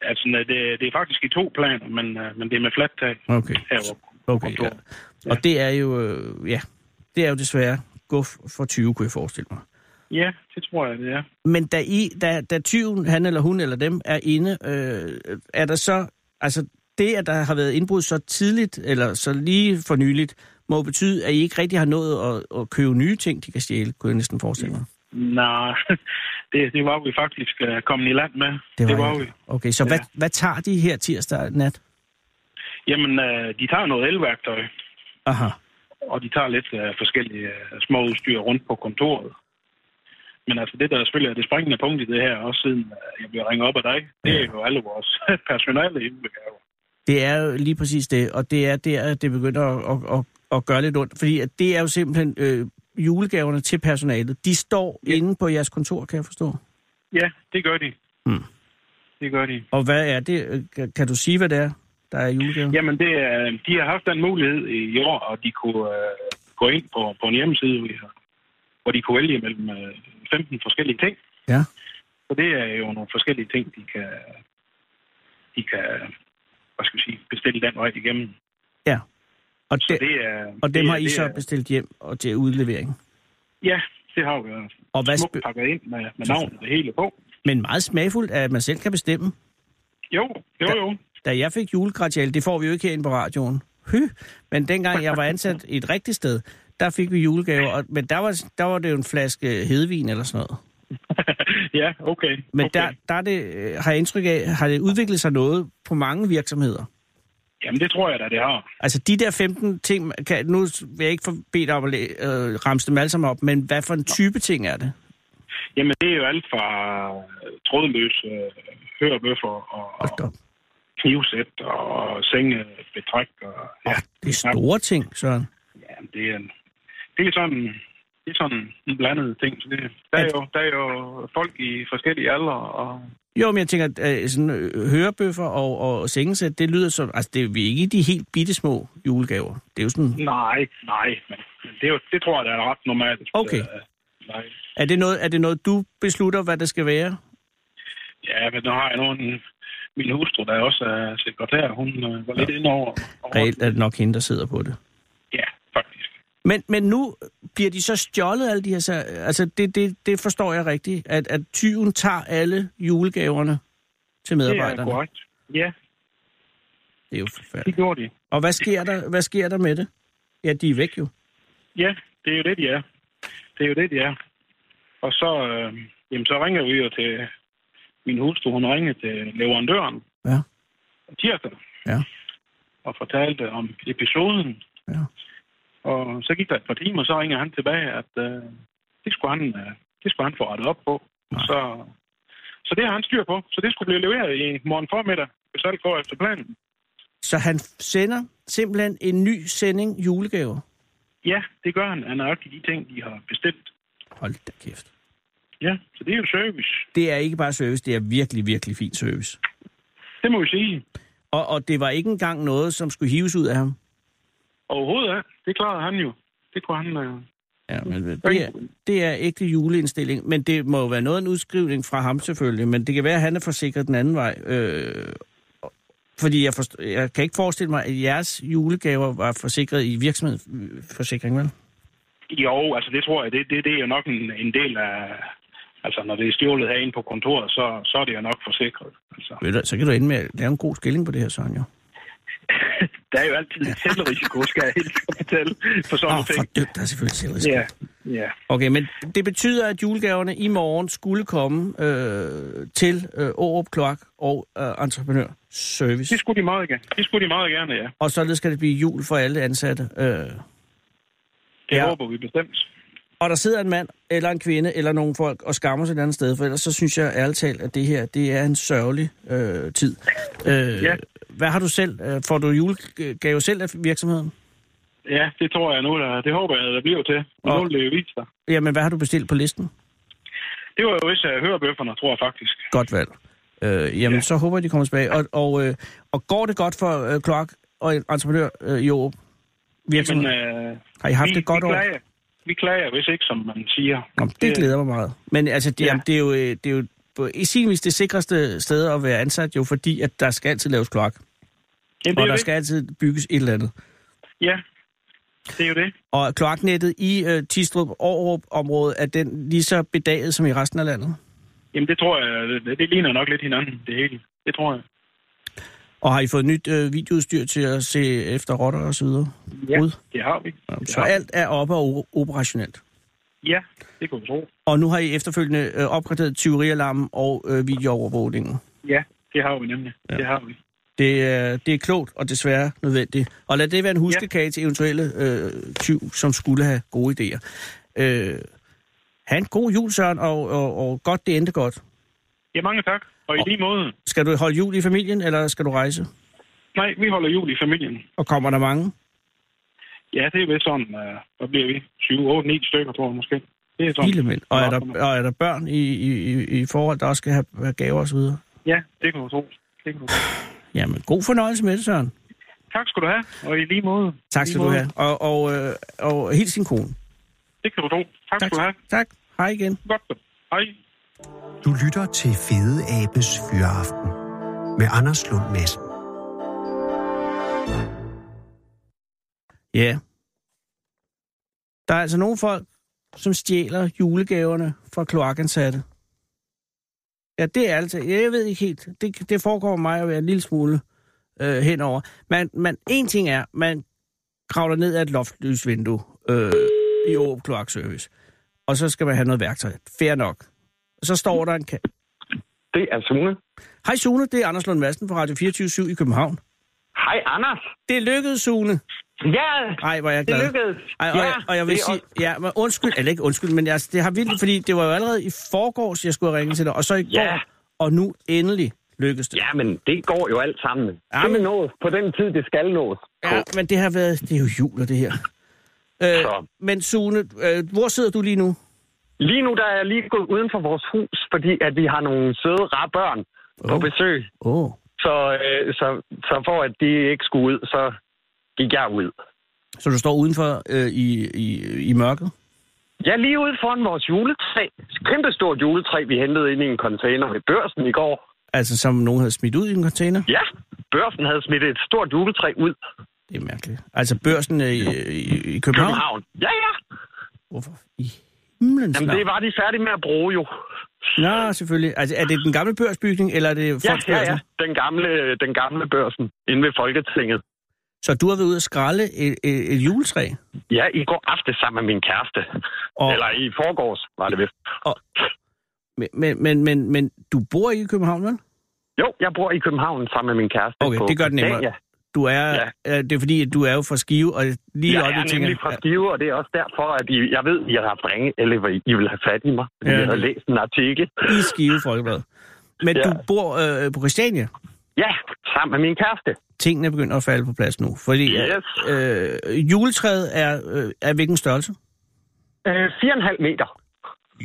Speaker 6: Altså, nej, det, det er faktisk i to planer, men, øh, men det er med fladt tag
Speaker 3: Okay.
Speaker 6: heroppe.
Speaker 3: Okay, ja. Og det er jo, øh, ja, det er jo desværre guf for 20, kunne jeg forestille mig.
Speaker 6: Ja, det tror jeg, det er.
Speaker 3: Men da, I, da, da tyven, han eller hun eller dem, er inde, øh, er der så, altså det, at der har været indbrud så tidligt, eller så lige for nyligt, må jo betyde, at I ikke rigtig har nået at, at købe nye ting, de kan stjæle, kunne jeg næsten forestille mig.
Speaker 6: Nej, *laughs* det, det var vi faktisk øh, kommet i land med.
Speaker 3: jo-
Speaker 6: vi.
Speaker 3: Okay, så ja. hvad,
Speaker 6: Ja.
Speaker 3: hvad tager de her tirsdag nat?
Speaker 6: Jamen, øh, de tager noget elværktøj,
Speaker 3: Aha.
Speaker 6: og de tager lidt øh, forskellige øh, små udstyr rundt på kontoret. Men altså det, der selvfølgelig er det springende punkt i det her, også siden øh, jeg bliver ringet op af dig, det er jo alle vores *laughs* personale indbegaver.
Speaker 3: Det er jo lige præcis det, og det er der, at det begynder at, at, at, at gøre lidt ondt. Fordi at det er jo simpelthen øh, julegaverne til personalet. De står ja. inde på jeres kontor, kan jeg forstå.
Speaker 6: Ja, det gør de.
Speaker 3: Mm.
Speaker 6: Det gør de.
Speaker 3: Og hvad er det? Øh, kan- Kan du sige, hvad det er, der er julegave?
Speaker 6: Jamen, det er, øh, de har haft den mulighed i år, og de kunne øh, gå ind på, på en hjemmeside, vi har, hvor de kunne vælge mellem øh, 15 forskellige ting.
Speaker 2: Ja.
Speaker 6: Så det er jo nogle forskellige ting, de kan, de kan øh, hvad skal vi sige, bestille den vej igennem.
Speaker 3: Ja. Og,
Speaker 6: Så
Speaker 3: de,
Speaker 6: det er,
Speaker 3: og dem
Speaker 6: det,
Speaker 3: har I
Speaker 6: det
Speaker 3: så
Speaker 6: er-
Speaker 3: bestilt hjem og til udlevering.
Speaker 6: Ja, det har vi jo
Speaker 3: Og hvad
Speaker 6: smukt
Speaker 3: sp-
Speaker 6: pakket ind med, med navn og det hele på.
Speaker 3: men meget smagfuldt, at man selv kan bestemme.
Speaker 6: Jo, jo, jo.
Speaker 3: Da jeg fik julegratial, det får vi jo ikke herinde på radioen. Hy, men dengang jeg var ansat i et rigtigt sted, der fik vi julegaver, og, men der var, der var det jo en flaske hedvin eller sådan noget.
Speaker 6: *laughs* ja, okay.
Speaker 3: Men
Speaker 6: okay.
Speaker 3: okay. der, der er det, øh, har jeg indtryk af, har det udviklet sig noget på mange virksomheder.
Speaker 6: Jamen, det tror jeg da, det har.
Speaker 3: Altså de der 15 ting, kan, nu vil jeg ikke få- bede dig om at læ- øh, ramse dem alle sammen op, men hvad for en type ting er det?
Speaker 6: Jamen, det er jo alt fra øh, trådløse øh, hørebøffer og,
Speaker 3: Hold da op.
Speaker 6: knivsæt og sengebetræk. Og, ja,
Speaker 3: Åh, det er store ting, Søren.
Speaker 6: ja, det, er, en- det er sådan... Det er sådan en blandet ting. Så det, der, er jo, der er jo folk i forskellige aldre, og
Speaker 3: Jo, men jeg tænker, at øh, sådan, øh, hørebøffer og, og sengesæt, det lyder som... Altså, det er jo ikke de helt bitte små julegaver. Det er jo sådan...
Speaker 6: Nej, nej. Men men det, er jo, det tror jeg, der er ret normalt.
Speaker 3: Okay.
Speaker 6: Øh, nej.
Speaker 3: Er det noget, er det noget du beslutter, hvad det skal være?
Speaker 6: Ja, men nu har jeg nogen... Min hustru, der også er sekretær, hun øh, var lidt inde over... over-
Speaker 3: Reelt er det nok hende, der sidder på det.
Speaker 6: Ja, faktisk.
Speaker 3: Men, men nu bliver de så stjålet, alle de her... sa- Altså, det, det, det forstår jeg rigtigt, at, at tyven tager alle julegaverne til
Speaker 6: Det er
Speaker 3: medarbejderne.
Speaker 6: korrekt. Ja,
Speaker 3: Det er jo
Speaker 6: det
Speaker 3: forfærdeligt.
Speaker 6: gjorde de.
Speaker 3: Og hvad sker, der, hvad sker der med det? Ja, de er væk jo.
Speaker 6: Ja, det er jo det, de er. Det er jo det, de er. Og så, øh, jamen, så ringer vi jo til... Min hustru, hun ringede til leverandøren
Speaker 3: Ja,
Speaker 6: tirsdag
Speaker 3: ja,
Speaker 6: og fortalte om episoden.
Speaker 3: ja.
Speaker 6: Og så gik der et par timer, så ringede han tilbage, at øh, det, skulle han, øh, det skulle han få rettet op på. Så, så det har han styr på. Så det skulle blive leveret i morgen formiddag, hvis alt går efter planen.
Speaker 3: Så han sender simpelthen en ny sending julegaver.
Speaker 6: Ja, det gør han. Han har også de ting, de har bestilt.
Speaker 3: Hold da kæft.
Speaker 6: Ja, så det er jo service.
Speaker 3: Det er ikke bare service, det er virkelig, virkelig fin service.
Speaker 6: Det må vi sige.
Speaker 3: Og, og det var ikke engang noget, som skulle hives ud af ham.
Speaker 6: Overhovedet ja. Det klarede han jo. Det kunne han... Øh...
Speaker 3: Ja, men det er, det er ægte juleindstilling, men det må jo være noget af en udskrivning fra ham selvfølgelig, men det kan være, at han er forsikret den anden vej. Øh, fordi jeg, forst- jeg kan ikke forestille mig, at jeres julegaver var forsikret i virksomhedsforsikring, vel?
Speaker 6: Jo, altså det tror jeg, det, det, det er jo nok en, en del af... Altså når det er stjålet herinde på kontoret, så, så er det jo nok forsikret. Altså,
Speaker 3: Ved du, så kan du ende med at lave en god skilling på det her, Søren, jo.
Speaker 6: der er jo altid en selvrisiko, skal jeg helt fortælle, for sådan
Speaker 3: Åh,
Speaker 6: nogle
Speaker 3: oh,
Speaker 6: ting.
Speaker 3: for død, der er selvfølgelig selvrisk.
Speaker 6: Ja, ja.
Speaker 3: Okay, men det betyder, at julegaverne i morgen skulle komme øh, til øh, Aarup Kloak og øh, Entreprenør Service.
Speaker 6: Det skulle de meget gerne. Det skulle de meget gerne, ja.
Speaker 3: Og således skal det blive jul for alle ansatte. Øh.
Speaker 6: Det
Speaker 3: Ja.
Speaker 6: ja. håber vi bestemt.
Speaker 3: Og der sidder en mand eller en kvinde eller nogle folk og skammer sig et andet sted, for ellers så synes jeg ærligt talt, at det her det er en sørgelig øh, tid. Øh,
Speaker 6: Ja.
Speaker 3: Hvad har du selv? Øh, Får du julegave selv af virksomheden?
Speaker 6: Ja, det tror jeg nu, der, det håber jeg, der bliver til. Og
Speaker 3: Og-
Speaker 6: nu vil det jo vise sig.
Speaker 3: Jamen, hvad har du bestilt på listen?
Speaker 6: Det var jo vist af hørebøfferne, tror jeg faktisk.
Speaker 3: Godt valg. Øh, jamen, ja.
Speaker 6: Ja.
Speaker 3: så håber jeg, de kommer tilbage. Og, og, øh, og går det godt for øh, Kloak og en entreprenør øh, i Aarup?
Speaker 6: Men
Speaker 3: Virksomheden?
Speaker 6: øh,
Speaker 3: har I haft
Speaker 6: vi,
Speaker 3: et godt
Speaker 6: vi
Speaker 3: år?
Speaker 6: klager. Vi klager, hvis ikke, som man siger.
Speaker 3: Nå, men det glæder mig meget. Men altså, det, ja.
Speaker 6: Ja.
Speaker 3: jamen, det er jo, øh, det er jo på, i sin vis det sikreste sted at være ansat, jo fordi, at der skal altid laves kloak.
Speaker 6: Jamen, det er
Speaker 3: Og
Speaker 6: jo
Speaker 3: der
Speaker 6: det.
Speaker 3: skal altid bygges et eller andet.
Speaker 6: Ja, det er jo det.
Speaker 3: Og kloaknettet i øh, Tistrup Aarhus området er den lige så bedaget som i resten af landet.
Speaker 6: Jamen, det tror jeg, det, det ligner nok lidt hinanden, det hele. Det tror jeg.
Speaker 3: Og har I fået nyt øh, videoudstyr til at se efter rotter og så videre?
Speaker 6: Ja,
Speaker 3: Ud?
Speaker 6: det har vi.
Speaker 3: Jamen,
Speaker 6: Det
Speaker 3: Så
Speaker 6: har vi.
Speaker 3: alt er oppe og o- operationelt.
Speaker 6: Ja, det kunne vi tro.
Speaker 3: Og nu har I efterfølgende øh, opgraderet tyverialarmen og øh, videoovervågningen.
Speaker 6: Ja, det har vi nemlig. Ja. Det har vi.
Speaker 3: Det er, det er klogt og desværre nødvendigt. Og lad det være en huskekage ja. til eventuelle øh, tyv, som skulle have gode idéer. Øh, ha' en god jul, Søren, og, og, og godt det endte godt.
Speaker 6: Ja, mange tak. Og i lige måde,
Speaker 3: Skal du holde jul i familien, eller skal du rejse?
Speaker 6: nej, vi holder jul i familien.
Speaker 3: Og kommer der mange?
Speaker 6: Ja, det er vist sådan, uh, hvad bliver vi? 7, 8, 9 stykker, tror jeg måske. Det er sådan.
Speaker 3: Hele mænd. Og er der, og er der børn i, i, i- i forhold, der også skal have, have gaver osv.?
Speaker 6: Ja, det kan du tro. Det kan du tro.
Speaker 3: Jamen, god fornøjelse med det, Søren.
Speaker 6: Tak skal du have, og i lige måde.
Speaker 3: Tak
Speaker 6: I
Speaker 3: skal
Speaker 6: lige
Speaker 3: du
Speaker 6: måde.
Speaker 3: have. Og, og, øh, og helt sin kone.
Speaker 6: Det kan du tro. Tak, tak. skal du have.
Speaker 3: Tak. Hej igen.
Speaker 6: Godt. så. Hej.
Speaker 2: Du lytter til Fede Abes Fyraften med Anders Lund Madsen.
Speaker 3: Ja. Der er altså nogle folk, som stjæler julegaverne fra kloakansatte. Ja, det er altså... Ja, jeg ved ikke helt. Det, det foregår mig at være en lille smule øh, henover. Men, men en ting er, man kravler ned ad et loftlysvindue øh, i Åb Kloakservice. Og så skal man have noget værktøj. Fair nok. Så står der en... Ka-
Speaker 7: Det er Sune.
Speaker 3: Hej Sune, det er Anders Lund Madsen fra Radio 24 i København.
Speaker 7: Hej, Anders.
Speaker 3: Det lykkedes, Sune.
Speaker 7: Ja,
Speaker 3: Ej, hvor er jeg
Speaker 7: det
Speaker 3: glad.
Speaker 7: lykkedes.
Speaker 3: Ej, og,
Speaker 7: ja,
Speaker 3: jeg, og jeg vil
Speaker 7: det er
Speaker 3: sige,
Speaker 7: også-
Speaker 3: ja, men undskyld, eller ikke undskyld, men altså, det har vildt, fordi det var jo allerede i forgårs, jeg skulle have ringet til dig, og så i går,
Speaker 7: Ja.
Speaker 3: og nu endelig lykkedes det.
Speaker 7: Ja, men det går jo alt sammen.
Speaker 3: Ja,
Speaker 7: Ja, men...
Speaker 3: men-
Speaker 7: Det nås på den tid, det skal nås.
Speaker 3: ja men det har været, det er jo jul og det her. Øh,
Speaker 7: Så.
Speaker 3: men Sune, øh, hvor sidder du lige nu?
Speaker 7: Lige nu der er jeg lige gået uden for vores hus, fordi at vi har nogle søde, rare børn oh. på
Speaker 3: Åh.
Speaker 7: besøg.
Speaker 3: Åh, oh,
Speaker 7: Så, øh, så, så for at de ikke skulle ud, så gik jeg ud.
Speaker 3: så du står udenfor øh, i, i, i mørket?
Speaker 7: Jeg er lige ude foran vores juletræ. Kæmpe stort juletræ, vi hentede ind i en container ved børsen i går.
Speaker 3: Altså, som nogen havde smidt ud i en container?
Speaker 7: Ja, børsen havde smidt et stort juletræ ud
Speaker 3: Det er mærkeligt. Altså, børsen øh, i, i, i
Speaker 7: i
Speaker 3: København?
Speaker 7: København. Ja, ja.
Speaker 3: Hvorfor? I himlen
Speaker 7: Jamen, det var de færdige med at bruge jo.
Speaker 3: Nå, selvfølgelig. Altså, er det den gamle børsbygning, eller er det
Speaker 7: Ja, ja,
Speaker 3: Fondsbørsen?
Speaker 7: ja. Den gamle, den gamle børsen inde ved Folketinget.
Speaker 3: Så du har været ude at skralde et, et, et juletræ?
Speaker 7: Ja, i går aftes sammen med min kæreste.
Speaker 3: Og,
Speaker 7: Eller i forgårs, var det vist.
Speaker 3: men, men, men, men du bor ikke i København, vel?
Speaker 7: Jo, jeg bor i København sammen med min kæreste.
Speaker 3: Okay,
Speaker 7: på
Speaker 3: det gør det nemmere.
Speaker 7: Christiania.
Speaker 3: Du er, ja.
Speaker 7: Ja.
Speaker 3: øh, det er fordi, at du er jo fra Skive, og lige i
Speaker 7: Jeg
Speaker 3: øjeblikket
Speaker 7: er
Speaker 3: tænker
Speaker 7: nemlig fra Skive, og det er også derfor, at I, jeg ved, I har haft ringe, eller I- I vil have fat i mig.
Speaker 3: Ja.
Speaker 7: Ja. Jeg har læst en artikel.
Speaker 3: ja, i Skive Folkeblad. Men ja.
Speaker 7: Ja.
Speaker 3: du bor øh, på Christiania.
Speaker 7: Ja, sammen med min kæreste.
Speaker 3: Tingene begynder at falde på plads nu, fordi
Speaker 7: Yes.
Speaker 3: øh, juletræet er øh, af hvilken størrelse?
Speaker 7: Øh, 4,5 meter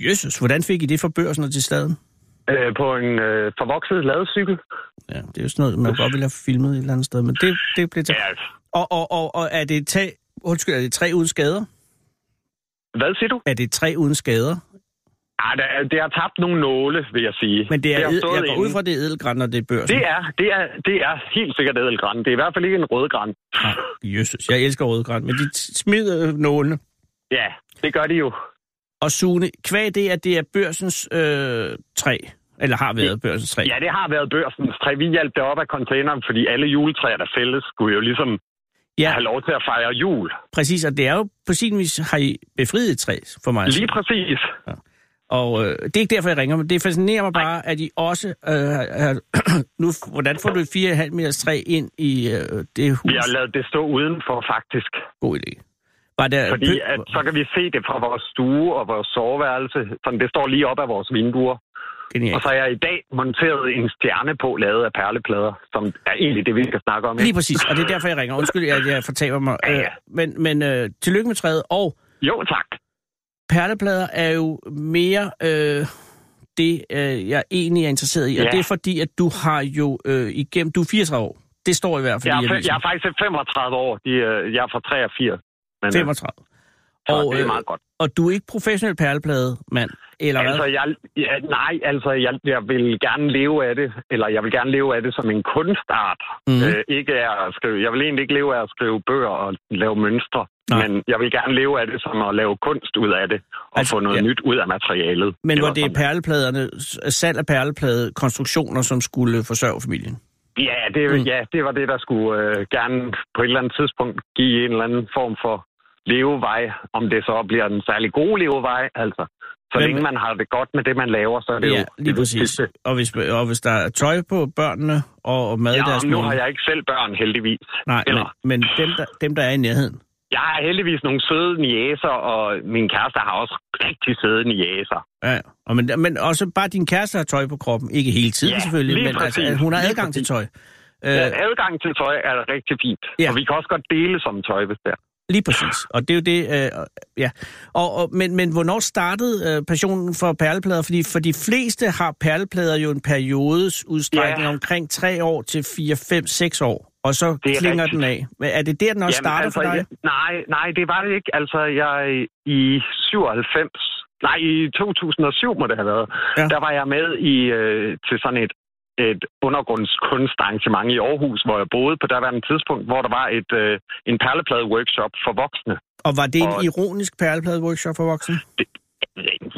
Speaker 3: Jesus, hvordan fik I det fra børsen og til staden?
Speaker 7: øh, på en øh, forvokset ladecykel.
Speaker 3: Ja, det er jo sådan noget, man godt ville have filmet et eller andet sted, men det, det blev til.
Speaker 7: Ja.
Speaker 3: Og, og, og, og er det et tag, undskyld, er det tre uden skader?
Speaker 7: Hvad siger du?
Speaker 3: Er det tre uden skader?
Speaker 7: Ja, det, er- det har tabt nogle nåle, vil jeg sige.
Speaker 3: Men det er,
Speaker 7: har
Speaker 3: det
Speaker 7: stået
Speaker 3: jeg går ud
Speaker 7: inde.
Speaker 3: fra, det er edelgræn, når det er børsen.
Speaker 7: Det er, det er, det er helt sikkert ædelgræn. Det er i hvert fald ikke en rødgræn.
Speaker 3: Nej, Jesus, jeg elsker rødgræn, men de t- smider øh, nålene.
Speaker 7: Ja, det gør de jo.
Speaker 3: Og Sune, kvæg det, at det er børsens øh, træ, eller har været børsens træ.
Speaker 7: Ja, det har været børsens træ. Vi hjalp det op af containeren, fordi alle juletræer, der fældes, skulle jo ligesom ja.
Speaker 3: ja
Speaker 7: have lov til at fejre jul.
Speaker 3: præcis, og det er jo på sin vis, har I befriet et træ for mig. at se.
Speaker 7: Lige præcis.
Speaker 3: Og øh, det er ikke derfor, jeg ringer, men det fascinerer mig bare, at I også øh, har, *clears throat* nu, hvordan får du et 4,5 meters træ ind i øh, det hus?
Speaker 7: Vi har lavet det stå udenfor, faktisk.
Speaker 3: God idé. Var der,
Speaker 7: Fordi
Speaker 3: bø-
Speaker 7: at, så kan vi se det fra vores stue og vores soveværelse. Sådan, det står lige op af vores vinduer.
Speaker 3: Genialt.
Speaker 7: Og så har jeg i dag monteret en stjerne på, lavet af perleplader, som er egentlig det, vi skal snakke om. ikke?
Speaker 3: Lige præcis, og det er derfor, jeg ringer. Undskyld, at jeg fortaber mig.
Speaker 7: Ja, ja.
Speaker 3: Øh, Men, men øh, tillykke med træet. Og
Speaker 7: Jo, tak.
Speaker 3: perleplader er jo mere øh, det, øh, jeg egentlig er interesseret i. Og
Speaker 7: Ja.
Speaker 3: det er fordi, at du har jo øh, igennem... Du er 34 år. Det står i hvert fald
Speaker 7: Jeg
Speaker 3: i
Speaker 7: er, fe-
Speaker 3: avisen.
Speaker 7: jeg er faktisk 35 år. De, øh, jeg er fra 83. Men, øh,
Speaker 3: 35.
Speaker 7: så
Speaker 3: Og,
Speaker 7: det
Speaker 3: øh,
Speaker 7: er meget godt.
Speaker 3: og du er ikke professionel perleplademand, eller hvad?
Speaker 7: Altså, jeg, ja, nej, altså, jeg, jeg vil gerne leve af det, eller jeg vil gerne leve af det som en kunstart.
Speaker 3: Mhm.
Speaker 7: Mm. Øh, ikke af at skrive, jeg vil egentlig ikke leve af at skrive bøger og lave mønstre,
Speaker 3: Nej.
Speaker 7: nej. men jeg vil gerne leve af det som at lave kunst ud af det, og
Speaker 3: Altså,
Speaker 7: altså, få noget
Speaker 3: ja.
Speaker 7: ja. nyt ud af materialet.
Speaker 3: Men hvor
Speaker 7: Eller
Speaker 3: det er
Speaker 7: sådan.
Speaker 3: perlepladerne, salg af perlepladekonstruktioner, som skulle forsørge familien.
Speaker 7: Ja, det,
Speaker 3: Mm.
Speaker 7: mm. ja, det var det, der skulle øh, gerne på et eller andet tidspunkt give en eller anden form for levevej, om det så bliver en særlig god levevej, altså. Så
Speaker 3: Men-
Speaker 7: længe man har det godt med det, man laver, så er det
Speaker 3: Ja,
Speaker 7: jo
Speaker 3: lige
Speaker 7: det
Speaker 3: præcis.
Speaker 7: vigtigste.
Speaker 3: Og hvis, og hvis der er tøj på børnene og, og mad i
Speaker 7: Ja,
Speaker 3: deres
Speaker 7: nu
Speaker 3: mund.
Speaker 7: har jeg ikke selv børn, heldigvis.
Speaker 3: Nej,
Speaker 7: Eller,
Speaker 3: men, men dem, der, dem, der er i nærheden.
Speaker 7: jeg har heldigvis nogle søde niæser, og min kæreste har også rigtig søde niæser.
Speaker 3: Ja, og men, men også bare din kæreste har tøj på kroppen. Ikke hele tiden
Speaker 7: Ja,
Speaker 3: selvfølgelig,
Speaker 7: lige
Speaker 3: men altså,
Speaker 7: præcis,
Speaker 3: hun har
Speaker 7: lige
Speaker 3: adgang til
Speaker 7: præcis.
Speaker 3: tøj. Øh,
Speaker 7: Øh. Adgang til tøj er rigtig fint,
Speaker 3: Ja.
Speaker 7: ja. og vi kan også godt dele som tøj, hvis det er.
Speaker 3: Lige præcis. Og det er jo det, øh, ja. Og, og, men, men hvornår startede øh, passionen for perleplader? Fordi for de fleste har perleplader jo en periodes udstrækning
Speaker 7: Ja.
Speaker 3: omkring 3 år til 4, 5, 6 år. og så
Speaker 7: Det er
Speaker 3: klinger
Speaker 7: rigtigt.
Speaker 3: den af. Men Er det der, den også starter
Speaker 7: altså,
Speaker 3: for dig?
Speaker 7: Jeg, nej, nej, det var det ikke. Altså, jeg i 97, nej, i 2007 må det have været,
Speaker 3: Ja.
Speaker 7: ja. der var jeg med i øh, til sådan et et undergrundskunstarrangement i Aarhus, hvor jeg boede på daværende tidspunkt, hvor der var et øh, en perleplade-workshop for voksne.
Speaker 3: Og var det en
Speaker 7: og-
Speaker 3: ironisk perleplade-workshop for voksne?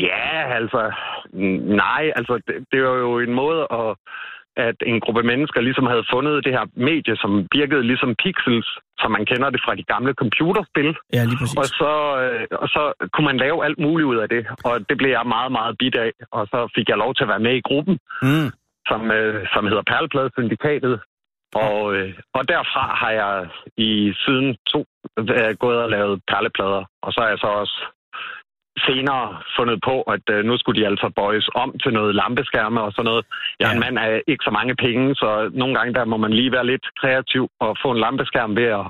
Speaker 7: Ja, altså, mm, nej, altså, det, det var jo en måde at at en gruppe mennesker ligesom havde fundet det her medie, som virkede ligesom pixels, som man kender det fra de gamle computerspil.
Speaker 3: Ja, lige præcis.
Speaker 7: Og så, øh, og så kunne man lave alt muligt ud af det, og det blev jeg meget, meget bit af. Og så fik jeg lov til at være med i gruppen,
Speaker 3: Mm.
Speaker 7: som, øh, som hedder Perlepladesyndikatet. Og, øh, og derfra har jeg i siden to øh, gået og lavet perleplader. Og så har jeg så også senere fundet på, at øh, nu skulle de altså bøjes om til noget lampeskærme og sådan noget. Jeg er
Speaker 3: Ja.
Speaker 7: en mand af ikke så mange penge, så nogle gange der må man lige være lidt kreativ og få en lampeskærm ved at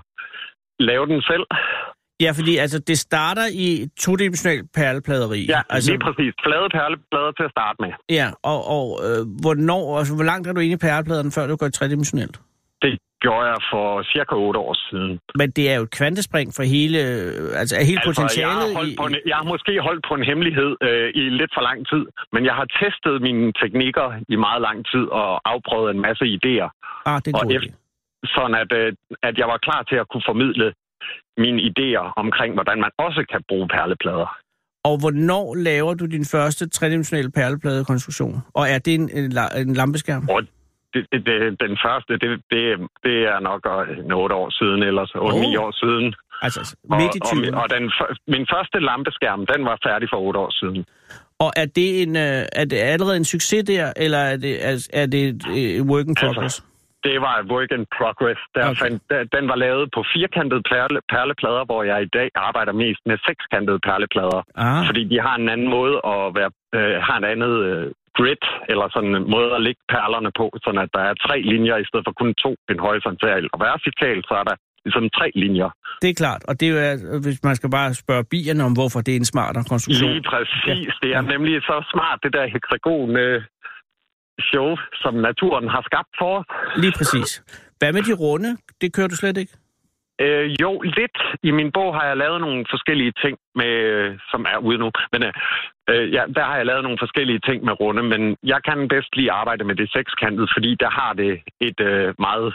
Speaker 7: lave den selv.
Speaker 3: Ja, fordi altså, det starter i todimensionel perlepladeri.
Speaker 7: Ja, altså...
Speaker 3: altså,
Speaker 7: lige præcis. Flade perleplader til at starte med.
Speaker 3: Ja, og, og øh, hvornår, altså, hvor langt er du inde i perlepladerne, før du går i tredimensionelt?
Speaker 7: Det gjorde jeg for cirka 8 år siden.
Speaker 3: Men det er jo et kvantespring for hele, øh, altså er hele altså,
Speaker 7: jeg,
Speaker 3: potentialet
Speaker 7: har holdt på en, jeg har måske holdt på en hemmelighed øh, i lidt for lang tid, men jeg har testet mine teknikker i meget lang tid og afprøvet en masse idéer,
Speaker 3: Ah, det er
Speaker 7: og
Speaker 3: god
Speaker 7: efter-
Speaker 3: idé.
Speaker 7: sådan at, øh, at jeg var klar til at kunne formidle mine idéer omkring, hvordan man også kan bruge perleplader.
Speaker 3: Og hvornår laver du din første tredimensionelle perlepladekonstruktion? Og er det en, en, la- en lampeskærm?
Speaker 7: Og det, det, det, den første, det, det, det er nok øh, 8 år siden, eller 8-9
Speaker 3: Oh.
Speaker 7: år siden.
Speaker 3: Altså, altså
Speaker 7: Og,
Speaker 3: midt i tyven.
Speaker 7: og, og den, f- min første lampeskærm, den var færdig for otte år siden.
Speaker 3: Og er det, en, øh, er det allerede en succes der, eller er det, er, er det et, øh, work in
Speaker 7: Altså,
Speaker 3: progress?
Speaker 7: Det var et work in progress. Der
Speaker 3: Okay.
Speaker 7: okay. fandt, der, den var lavet på firkantede perle, perleplader, hvor jeg i dag arbejder mest med sekskantede perleplader.
Speaker 3: Ah,
Speaker 7: Fordi de har en anden måde at være, øh, har en andet øh, grid, eller sådan en måde at lægge perlerne på, sådan at der er tre linjer i stedet for kun to, en horisontal og vertikal, så er der ligesom tre linjer.
Speaker 3: det er klart. Og det er, jo, øh, hvis man skal bare spørge bierne om, hvorfor det er en smartere konstruktion.
Speaker 7: Lige præcis. Det er nemlig så smart, det der heksagon øh, show, som naturen har skabt for os.
Speaker 3: Lige præcis. Hvad med de runde? Det kører du slet ikke?
Speaker 7: Øh, jo, lidt. I min bog har jeg lavet nogle forskellige ting, med, øh, som er ude nu. Men øh, øh, ja, der har jeg lavet nogle forskellige ting med runde, men jeg kan bedst lige arbejde med det sekskantede, fordi der har det et øh, meget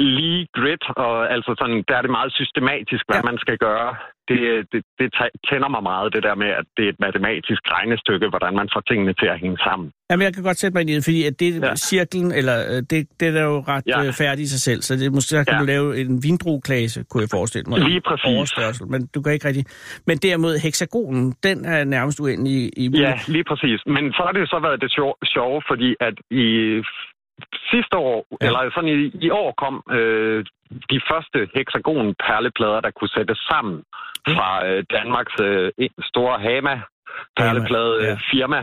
Speaker 7: lige grid, og altså sådan, der er det meget systematisk, hvad
Speaker 3: Ja.
Speaker 7: ja. man skal gøre. Det, øh, det, det tæ- tænder mig meget, det der med, at det er et matematisk regnestykke, hvordan man får tingene til at hænge sammen.
Speaker 3: Jamen, jeg kan godt sætte mig ind i det, fordi at det ja.
Speaker 7: Ja.
Speaker 3: cirklen, eller øh, det, det er da jo ret
Speaker 7: Ja.
Speaker 3: ja. færdigt i sig selv, så det, måske så kan ja.
Speaker 7: Ja.
Speaker 3: du lave en vindrueklasse, kunne jeg forestille mig.
Speaker 7: Lige præcis.
Speaker 3: Overstørrelse, men du kan ikke rigtig... Men derimod, hexagonen, den er nærmest uendelig i... i
Speaker 7: Ja, lige præcis. Men så har det jo så været det sjo- sjove, fordi at i sidste år,
Speaker 3: Ja.
Speaker 7: ja. eller sådan i, i år kom øh, de første hexagon-perleplader, der kunne sættes sammen
Speaker 3: Mm.
Speaker 7: fra øh, Danmarks øh, store
Speaker 3: Hama, ja.
Speaker 7: Hama-perleplade-firma.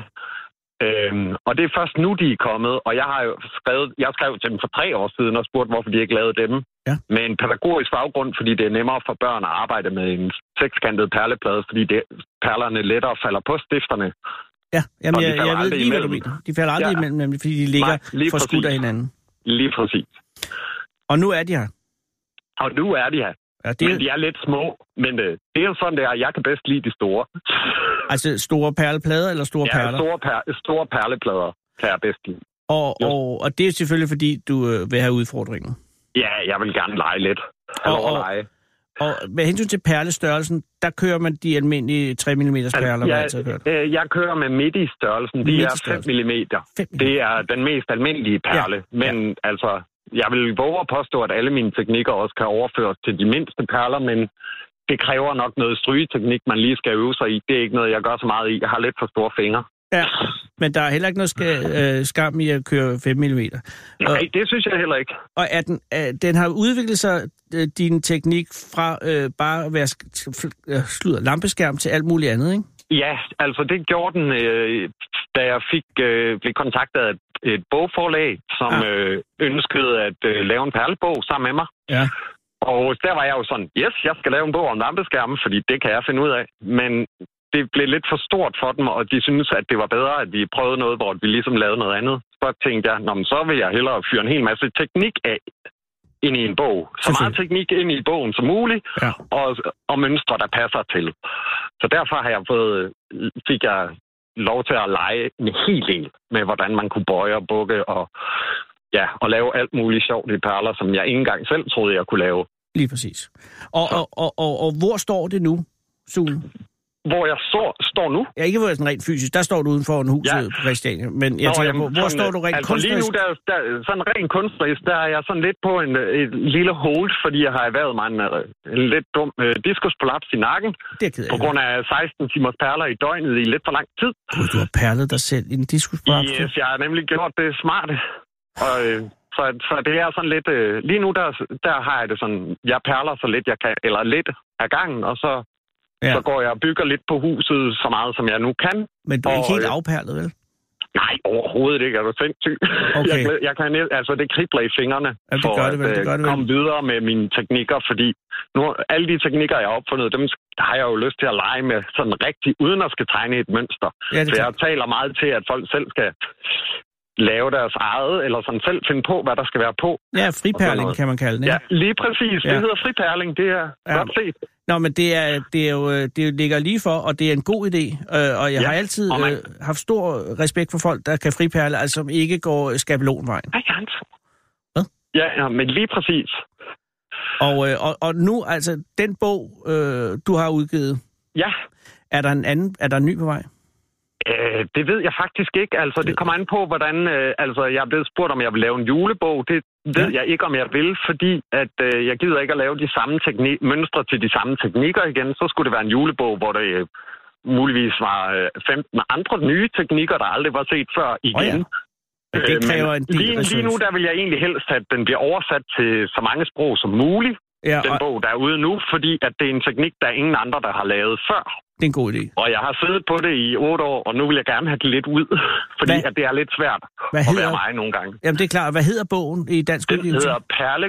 Speaker 7: øh, Øhm, og det er først nu, de er kommet, og jeg har jo skrevet, jeg skrev til dem for tre år siden og spurgte, hvorfor de ikke lavede dem.
Speaker 3: Ja.
Speaker 7: Med en pædagogisk baggrund, fordi det er nemmere for børn at arbejde med en sekskantet perleplade, fordi det, perlerne lettere falder på stifterne.
Speaker 3: ja. Jamen,
Speaker 7: Og de
Speaker 3: jeg,
Speaker 7: falder
Speaker 3: jeg ved
Speaker 7: aldrig
Speaker 3: lige, hvad du
Speaker 7: imellem.
Speaker 3: mener. De falder aldrig ja.
Speaker 7: Ja.
Speaker 3: imellem, nemlig, fordi de ligger
Speaker 7: Nej, lige
Speaker 3: for skudt af
Speaker 7: præcis.
Speaker 3: hinanden.
Speaker 7: Lige præcis.
Speaker 3: Og nu er de her.
Speaker 7: Og nu er de her.
Speaker 3: Ja, det
Speaker 7: Det...
Speaker 3: er
Speaker 7: Men de er lidt små, men øh, det er jo sådan, det er. Jeg kan bedst lide de store.
Speaker 3: altså store perleplader eller store
Speaker 7: ja,
Speaker 3: perler.
Speaker 7: store, per, store perleplader kan jeg bedst lide.
Speaker 3: Og,
Speaker 7: Jo.
Speaker 3: og, og det er jo selvfølgelig, fordi du øh, vil have udfordringen.
Speaker 7: Ja, jeg vil gerne lege lidt.
Speaker 3: Og-
Speaker 7: Eller
Speaker 3: og-
Speaker 7: overlege.
Speaker 3: Og med hensyn til perlestørrelsen, der kører man de almindelige 3 mm perler, man altid har
Speaker 7: Altså, jeg,
Speaker 3: kørt.
Speaker 7: øh, jeg kører med midt i størrelsen. De
Speaker 3: Midt i
Speaker 7: er 5
Speaker 3: størrelsen.
Speaker 7: mm.
Speaker 3: Fem
Speaker 7: Det er den mest almindelige perle.
Speaker 3: Ja.
Speaker 7: Ja. Men altså, jeg vil våge at påstå, at alle mine teknikker også kan overføres til de mindste perler, men det kræver nok noget strygeteknik, man lige skal øve sig i. Det er ikke noget, jeg gør så meget i. Jeg har lidt for store fingre.
Speaker 3: Ja, men der er heller ikke noget ska- øh, skam i at køre 5 mm.
Speaker 7: Nej, det synes jeg heller ikke.
Speaker 3: Og er den, er, den har udviklet sig, øh, din teknik, fra øh, bare at være sk- t- fl- øh, sludder, lampeskærm til alt muligt andet, ikke?
Speaker 7: Ja, altså det gjorde den, øh, da jeg fik øh, blev kontaktet af et- et bogforlag, som
Speaker 3: Ah.
Speaker 7: ah. øh, ønskede at øh, lave en perlebog sammen med mig.
Speaker 3: Ja.
Speaker 7: Og der var jeg jo sådan, yes, jeg skal lave en bog om lampeskærme, fordi det kan jeg finde ud af. Men det blev lidt for stort for dem, og de synes, at det var bedre, at vi prøvede noget, hvor vi ligesom lavede noget andet. Så tænkte jeg, Nå, men så vil jeg hellere fyre en hel masse teknik af ind i en bog. Så meget teknik ind i bogen som muligt,
Speaker 3: Ja.
Speaker 7: og, og mønstre, der passer til. Så derfor har jeg fået, fik jeg lov til at lege en hel del med, hvordan man kunne bøje og bukke og, ja, og lave alt muligt sjovt i perler, som jeg ikke engang selv troede, jeg kunne lave.
Speaker 3: Lige præcis. Og, og, og, og, og hvor står det nu, Sune?
Speaker 7: Hvor jeg så, står nu,
Speaker 3: Ja, ikke hvor jeg sådan rent fysisk. Der står du uden for en hus
Speaker 7: Ja.
Speaker 3: ja. på Christiania. Men jeg Nå, tænker,
Speaker 7: jamen,
Speaker 3: hvor, hvor
Speaker 7: sådan,
Speaker 3: står du rent
Speaker 7: altså,
Speaker 3: altså,
Speaker 7: Lige nu,
Speaker 3: kunstnerisk?
Speaker 7: der, der, sådan rent kunstnerisk, der er jeg sådan lidt på en, øh, et lille hold, fordi jeg har erhvervet mig en, øh, en lidt dum øh, diskusprolaps i nakken,
Speaker 3: Det er jeg ked af.
Speaker 7: på grund af 16 timers perler i døgnet i lidt for lang tid.
Speaker 3: Gud, du har perlet dig selv i en diskusprop.
Speaker 7: Yes, jeg har nemlig gjort det smart. Og, øh, så, så det er sådan lidt... Øh, lige nu, der, der har jeg det sådan, jeg perler så lidt, jeg kan, eller lidt af gangen, og så, ja.
Speaker 3: Ja.
Speaker 7: så går jeg og bygger lidt på huset så meget, som jeg nu kan.
Speaker 3: Men du er ikke
Speaker 7: Og,
Speaker 3: helt
Speaker 7: øh,
Speaker 3: afperlet, vel?
Speaker 7: Nej, overhovedet ikke. Er du sindssyg? *laughs*
Speaker 3: Okay.
Speaker 7: Jeg, glæ- jeg kan, næ- altså, det kribler i fingrerne
Speaker 3: Jamen, det
Speaker 7: for
Speaker 3: gør det vel,
Speaker 7: at
Speaker 3: det
Speaker 7: øh,
Speaker 3: gør det vel.
Speaker 7: komme videre med mine teknikker, fordi nu, alle de teknikker, jeg har opfundet, dem har jeg jo lyst til at lege med sådan rigtig, uden at skal tegne et mønster.
Speaker 3: Ja, det
Speaker 7: Så
Speaker 3: er
Speaker 7: jeg
Speaker 3: klart.
Speaker 7: taler meget til, at folk selv skal lave deres eget, eller sådan selv finde på, hvad der skal være på.
Speaker 3: Ja,
Speaker 7: sådan
Speaker 3: friperling
Speaker 7: noget.
Speaker 3: kan man kalde det.
Speaker 7: Ja,
Speaker 3: Ja.
Speaker 7: lige præcis. Ja. Det
Speaker 3: Ja.
Speaker 7: hedder friperling, det er ja.
Speaker 3: Ja.
Speaker 7: godt set.
Speaker 3: Nå, men det, er, det, er jo, øh, det ligger lige for, og det er en god idé. Øh, og jeg
Speaker 7: Ja,
Speaker 3: har altid
Speaker 7: og man-
Speaker 3: øh, haft stor respekt for folk, der kan friperle, altså som ikke går skabelonvejen.
Speaker 7: Hej, Hans.
Speaker 3: Hvad?
Speaker 7: Ja, ja, men lige præcis.
Speaker 3: Og, øh, og, og nu, altså, den bog, øh, du har udgivet,
Speaker 7: Ja,
Speaker 3: er der en anden, er der en ny på vej?
Speaker 7: Øh, det ved jeg faktisk ikke. Altså, det kommer an på, hvordan... Øh, altså, jeg er blevet spurgt, om jeg vil lave en julebog. Det ved ja. jeg ikke, om jeg vil, fordi at, øh, jeg gider ikke at lave de samme tekni- mønstre til de samme teknikker igen. Så skulle det være en julebog, hvor der øh, muligvis var øh, 15 andre nye teknikker, der aldrig var set før igen.
Speaker 3: Åh Men det
Speaker 7: Øh, men
Speaker 3: kræver en del
Speaker 7: lige, lige nu,
Speaker 3: research.
Speaker 7: der vil jeg egentlig helst, at den bliver oversat til så mange sprog som muligt,
Speaker 3: Ja,
Speaker 7: den
Speaker 3: og,
Speaker 7: bog, der er ude nu, fordi at det er en teknik, der er ingen andre, der har lavet før.
Speaker 3: det er en god idé.
Speaker 7: Og jeg har siddet på det i otte år, og nu vil jeg gerne have det lidt ud, *laughs* fordi
Speaker 3: Hvad-
Speaker 7: at det er lidt svært
Speaker 3: Hvad
Speaker 7: at være
Speaker 3: hedder-
Speaker 7: mig nogle gange.
Speaker 3: Jamen, det er klart. Hvad hedder bogen i dansk
Speaker 7: Den
Speaker 3: udgivelse?
Speaker 7: hedder perle,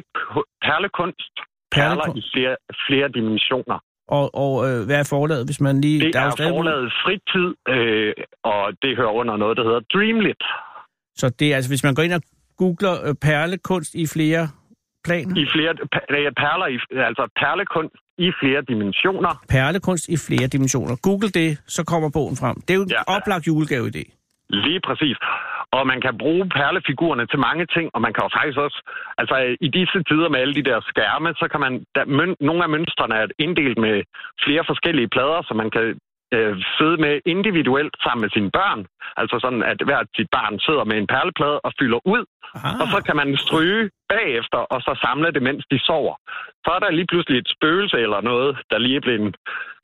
Speaker 7: Perlekunst. Perler
Speaker 3: Perlekun-
Speaker 7: i flere, flere dimensioner.
Speaker 3: Og, og øh, hvad er forlaget, hvis man lige...
Speaker 7: Det
Speaker 3: der jo
Speaker 7: er
Speaker 3: stadig-
Speaker 7: forlaget fritid, øh, og det hører under noget, der hedder Dreamlit.
Speaker 3: Så det er altså, hvis man går ind og googler øh, perlekunst i flere planer.
Speaker 7: I flere, per- øh, perler i, altså perlekunst i flere dimensioner.
Speaker 3: Perlekunst i flere dimensioner. Google det, så kommer bogen frem. Det er jo en
Speaker 7: Ja.
Speaker 3: ja. oplagt julegaveidé.
Speaker 7: Lige præcis. Og man kan bruge perlefigurerne til mange ting, og man kan jo faktisk også... Altså, øh, i disse tider med alle de der skærme, så kan man... Der, møn, nogle af mønstrene er inddelt med flere forskellige plader, så man kan øh, sidde med individuelt sammen med sine børn. Altså sådan, at hver sit barn sidder med en perleplade og fylder ud,
Speaker 3: Aha.
Speaker 7: og så kan man stryge bagefter, og så samle det, mens de sover. Så er der lige pludselig et spøgelse eller noget, der lige er blevet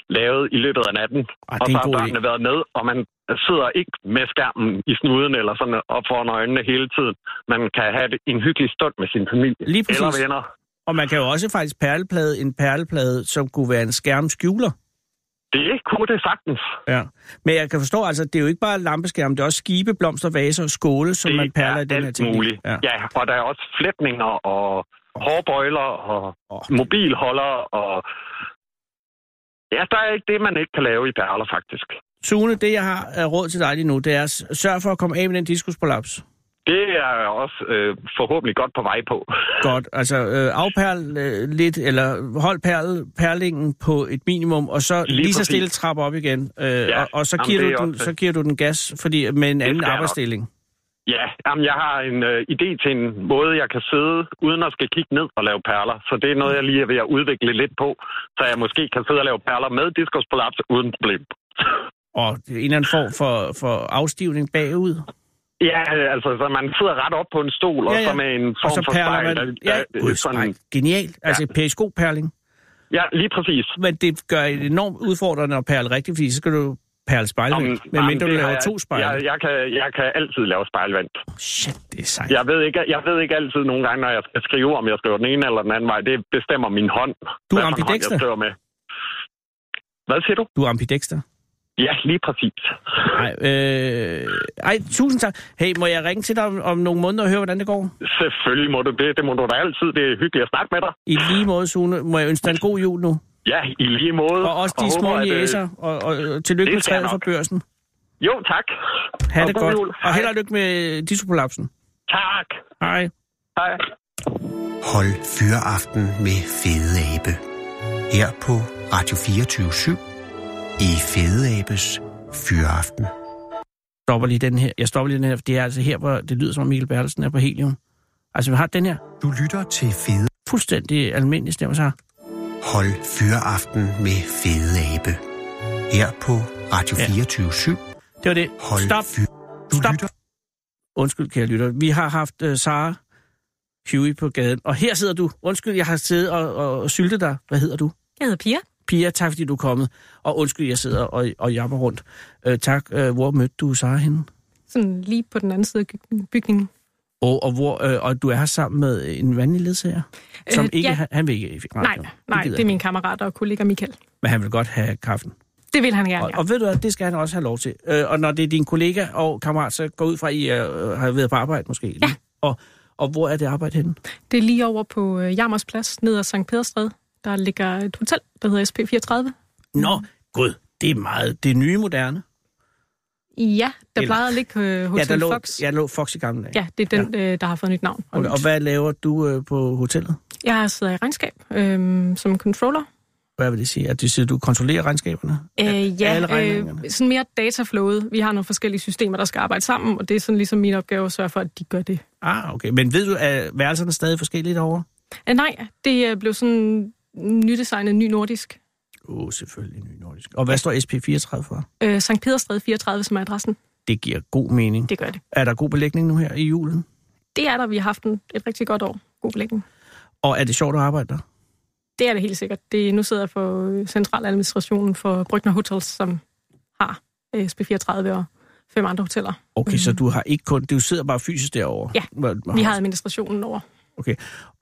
Speaker 7: lavet i løbet af natten.
Speaker 3: Ah,
Speaker 7: og
Speaker 3: det er
Speaker 7: så
Speaker 3: en
Speaker 7: har
Speaker 3: god idé.
Speaker 7: børnene været med, og man sidder ikke med skærmen i snuden eller sådan op foran øjnene hele tiden. Man kan have det- en hyggelig stund med sin familie
Speaker 3: Lige præcis.
Speaker 7: eller venner.
Speaker 3: Og man kan jo også faktisk perleplade en perleplade, som kunne være en skærmskjuler.
Speaker 7: Det kunne det sagtens.
Speaker 3: Ja. Men jeg kan forstå, altså, det er jo ikke bare lampeskærm, det er også skibe, blomster, vaser og skåle, som
Speaker 7: det
Speaker 3: man perler i
Speaker 7: er
Speaker 3: den her
Speaker 7: alt
Speaker 3: teknik.
Speaker 7: muligt. Ja. ja, og der er også flætninger og hårbøjler og
Speaker 3: Åh.
Speaker 7: mobilholder og... Ja, der er ikke det, man ikke kan lave i perler, faktisk.
Speaker 3: Sune, det jeg har af råd til dig lige nu, det er s- sørg for at komme af med den diskusprolaps.
Speaker 7: Det er jeg også øh, forhåbentlig godt på vej på.
Speaker 3: Godt, altså øh, afperl øh, lidt, eller hold perl, perlingen på et minimum, og så
Speaker 7: Lige
Speaker 3: lige, lige så
Speaker 7: præcis.
Speaker 3: stille trappe op igen, øh,
Speaker 7: Ja,
Speaker 3: ja, og, og så,
Speaker 7: jamen,
Speaker 3: giver
Speaker 7: det er
Speaker 3: du den,
Speaker 7: også-
Speaker 3: så giver du den gas fordi, med en anden
Speaker 7: skal jeg nok.
Speaker 3: arbejdsstilling.
Speaker 7: Ja, jamen, jeg har en øh, idé til en måde, jeg kan sidde uden at skal kigge ned og lave perler. Så det er noget, jeg lige er ved at udvikle lidt på, så jeg måske kan sidde og lave perler med diskusprolaps uden problem.
Speaker 3: Og det er en eller anden form for, for afstivning bagud.
Speaker 7: Ja, altså, så man sidder ret op på en stol, og
Speaker 3: Ja, ja.
Speaker 7: så med en
Speaker 3: Og
Speaker 7: form
Speaker 3: så
Speaker 7: for
Speaker 3: perler
Speaker 7: spejl.
Speaker 3: man.
Speaker 7: der-
Speaker 3: ja,
Speaker 7: der-
Speaker 3: Gud, spejl.
Speaker 7: sådan-
Speaker 3: Genialt. Altså periskopperling.
Speaker 7: Ja, lige præcis.
Speaker 3: Men det gør det enormt udfordrende at perle rigtigt, fordi så skal du perle spejlvand.
Speaker 7: Jamen,
Speaker 3: Men
Speaker 7: jamen,
Speaker 3: mindre du
Speaker 7: det har
Speaker 3: laver
Speaker 7: jeg-
Speaker 3: to spejle.
Speaker 7: Jeg, jeg, kan, jeg kan altid lave spejlvand.
Speaker 3: Shit, det er sejt.
Speaker 7: Jeg ved, ikke, jeg ved ikke altid nogle gange, når jeg skal skrive, om jeg skriver den ene eller den anden vej. Det bestemmer min hånd.
Speaker 3: Du er
Speaker 7: hvad for en hånd,
Speaker 3: ambidexter.
Speaker 7: jeg skriver med. Hvad siger du?
Speaker 3: Du er ambidexter.
Speaker 7: Ja, lige præcis.
Speaker 3: Nej, øh... Ej, tusind tak. Hey, må jeg ringe til dig om, om nogle måneder og høre, hvordan det går?
Speaker 7: Selvfølgelig må du det. Det må du da altid. Det er hyggeligt at snakke med dig.
Speaker 3: I lige måde, Sune. Må jeg ønske dig en god jul nu?
Speaker 7: Ja, i lige måde.
Speaker 3: Og også de
Speaker 7: håber,
Speaker 3: små
Speaker 7: at, øh,
Speaker 3: jæser. Og, og, og tillykke
Speaker 7: det
Speaker 3: med
Speaker 7: skal jeg
Speaker 3: træet fra
Speaker 7: nok.
Speaker 3: børsen.
Speaker 7: Jo, tak.
Speaker 3: Ha'
Speaker 7: Og
Speaker 3: det
Speaker 7: god
Speaker 3: godt.
Speaker 7: jul.
Speaker 3: Og held og lykke med disopolapsen.
Speaker 7: Tak.
Speaker 3: Hej.
Speaker 7: Hej.
Speaker 2: Hold Fyraften med Fede Abe. Her på Radio 24 i Fede Abes Fyraften.
Speaker 3: stopper lige den her. Jeg stopper lige den her, for det er altså her, hvor det lyder som om Mikkel Bertelsen er på helium. Altså, vi har den her
Speaker 2: Du lytter til Fede
Speaker 3: fuldstændig almindelig stemme, så har.
Speaker 2: Hold Fyraften med Fede Abe. Her på Radio
Speaker 3: Ja.
Speaker 2: 24
Speaker 3: Det var det.
Speaker 2: Hold
Speaker 3: Stop.
Speaker 2: Fyr... Du
Speaker 3: Stop.
Speaker 2: lytter
Speaker 3: Undskyld, kære lytter. Vi har haft uh, Sara Huey på gaden, og her sidder du. Undskyld, jeg har siddet og, og, og syltet dig. Hvad hedder du?
Speaker 8: Jeg hedder Pia.
Speaker 3: Pia, tak fordi du er kommet. Og undskyld, jeg sidder og, og jabber rundt. Uh, tak. Uh, hvor mødte du Sara henne?
Speaker 8: Sådan lige på den anden side af gyg- bygningen.
Speaker 3: Og, og, hvor, øh, og du er her sammen med en vandlig ledsager, som
Speaker 8: Øh,
Speaker 3: ikke,
Speaker 8: ja.
Speaker 3: han, han vil ikke i radioen.
Speaker 8: Nej, nej,
Speaker 3: gider
Speaker 8: det er
Speaker 3: han.
Speaker 8: min kammerat og kollega Michael.
Speaker 3: Men han vil godt have kaffen.
Speaker 8: Det vil han gerne,
Speaker 3: Og,
Speaker 8: ja.
Speaker 3: og ved du hvad, det skal han også have lov til. Øh, og når det er din kollega og kammerat, så går ud fra, at I øh, har været på arbejde måske. Ja. Og, og hvor er det arbejde henne?
Speaker 8: Det er lige over på øh, Jammers Plads, ned ad Sankt Pederstræde. Der ligger et hotel, der hedder SP34.
Speaker 3: Nå, gud, det er meget, det er nye moderne.
Speaker 8: Ja, der
Speaker 3: Eller-
Speaker 8: plejede at ligge øh, Hotel
Speaker 3: ja, der lå,
Speaker 8: Fox.
Speaker 3: Ja, der lå Fox i gamle dage.
Speaker 8: Ja, det er den, øh, der har fået nyt navn.
Speaker 3: Okay, og hvad laver du øh, på hotellet?
Speaker 8: Jeg sidder i regnskab øh, som controller.
Speaker 3: Hvad vil det sige? At det siger, du kontrollerer regnskaberne?
Speaker 8: Øh, ja,
Speaker 3: alle regningerne?
Speaker 8: øh, sådan mere dataflowet. Vi har nogle forskellige systemer, der skal arbejde sammen, og det er sådan ligesom min opgave at sørge for, at de gør det.
Speaker 3: Ah, okay. Men ved du, at værelserne er stadig forskellige derovre?
Speaker 8: Øh, nej, det øh, blev sådan nydesignet, ny nordisk.
Speaker 3: Åh, oh, selvfølgelig ny nordisk. Og hvad står SP34 for?
Speaker 8: Øh, Sankt Pederstræde 34, som er adressen.
Speaker 3: Det giver god mening.
Speaker 8: Det gør det.
Speaker 3: Er der god belægning nu her i julen?
Speaker 8: Det er der, vi har haft en, et rigtig godt år. God belægning.
Speaker 3: Og er det sjovt at arbejde der?
Speaker 8: Det er det helt sikkert. Det, nu sidder jeg for øh, centraladministrationen for Brygner Hotels, som har øh, SP34 og fem andre hoteller.
Speaker 3: Okay, mm. så du har ikke kun... Du sidder bare fysisk derovre?
Speaker 8: Ja,
Speaker 3: Hvor-
Speaker 8: Vi har administrationen over.
Speaker 3: Okay.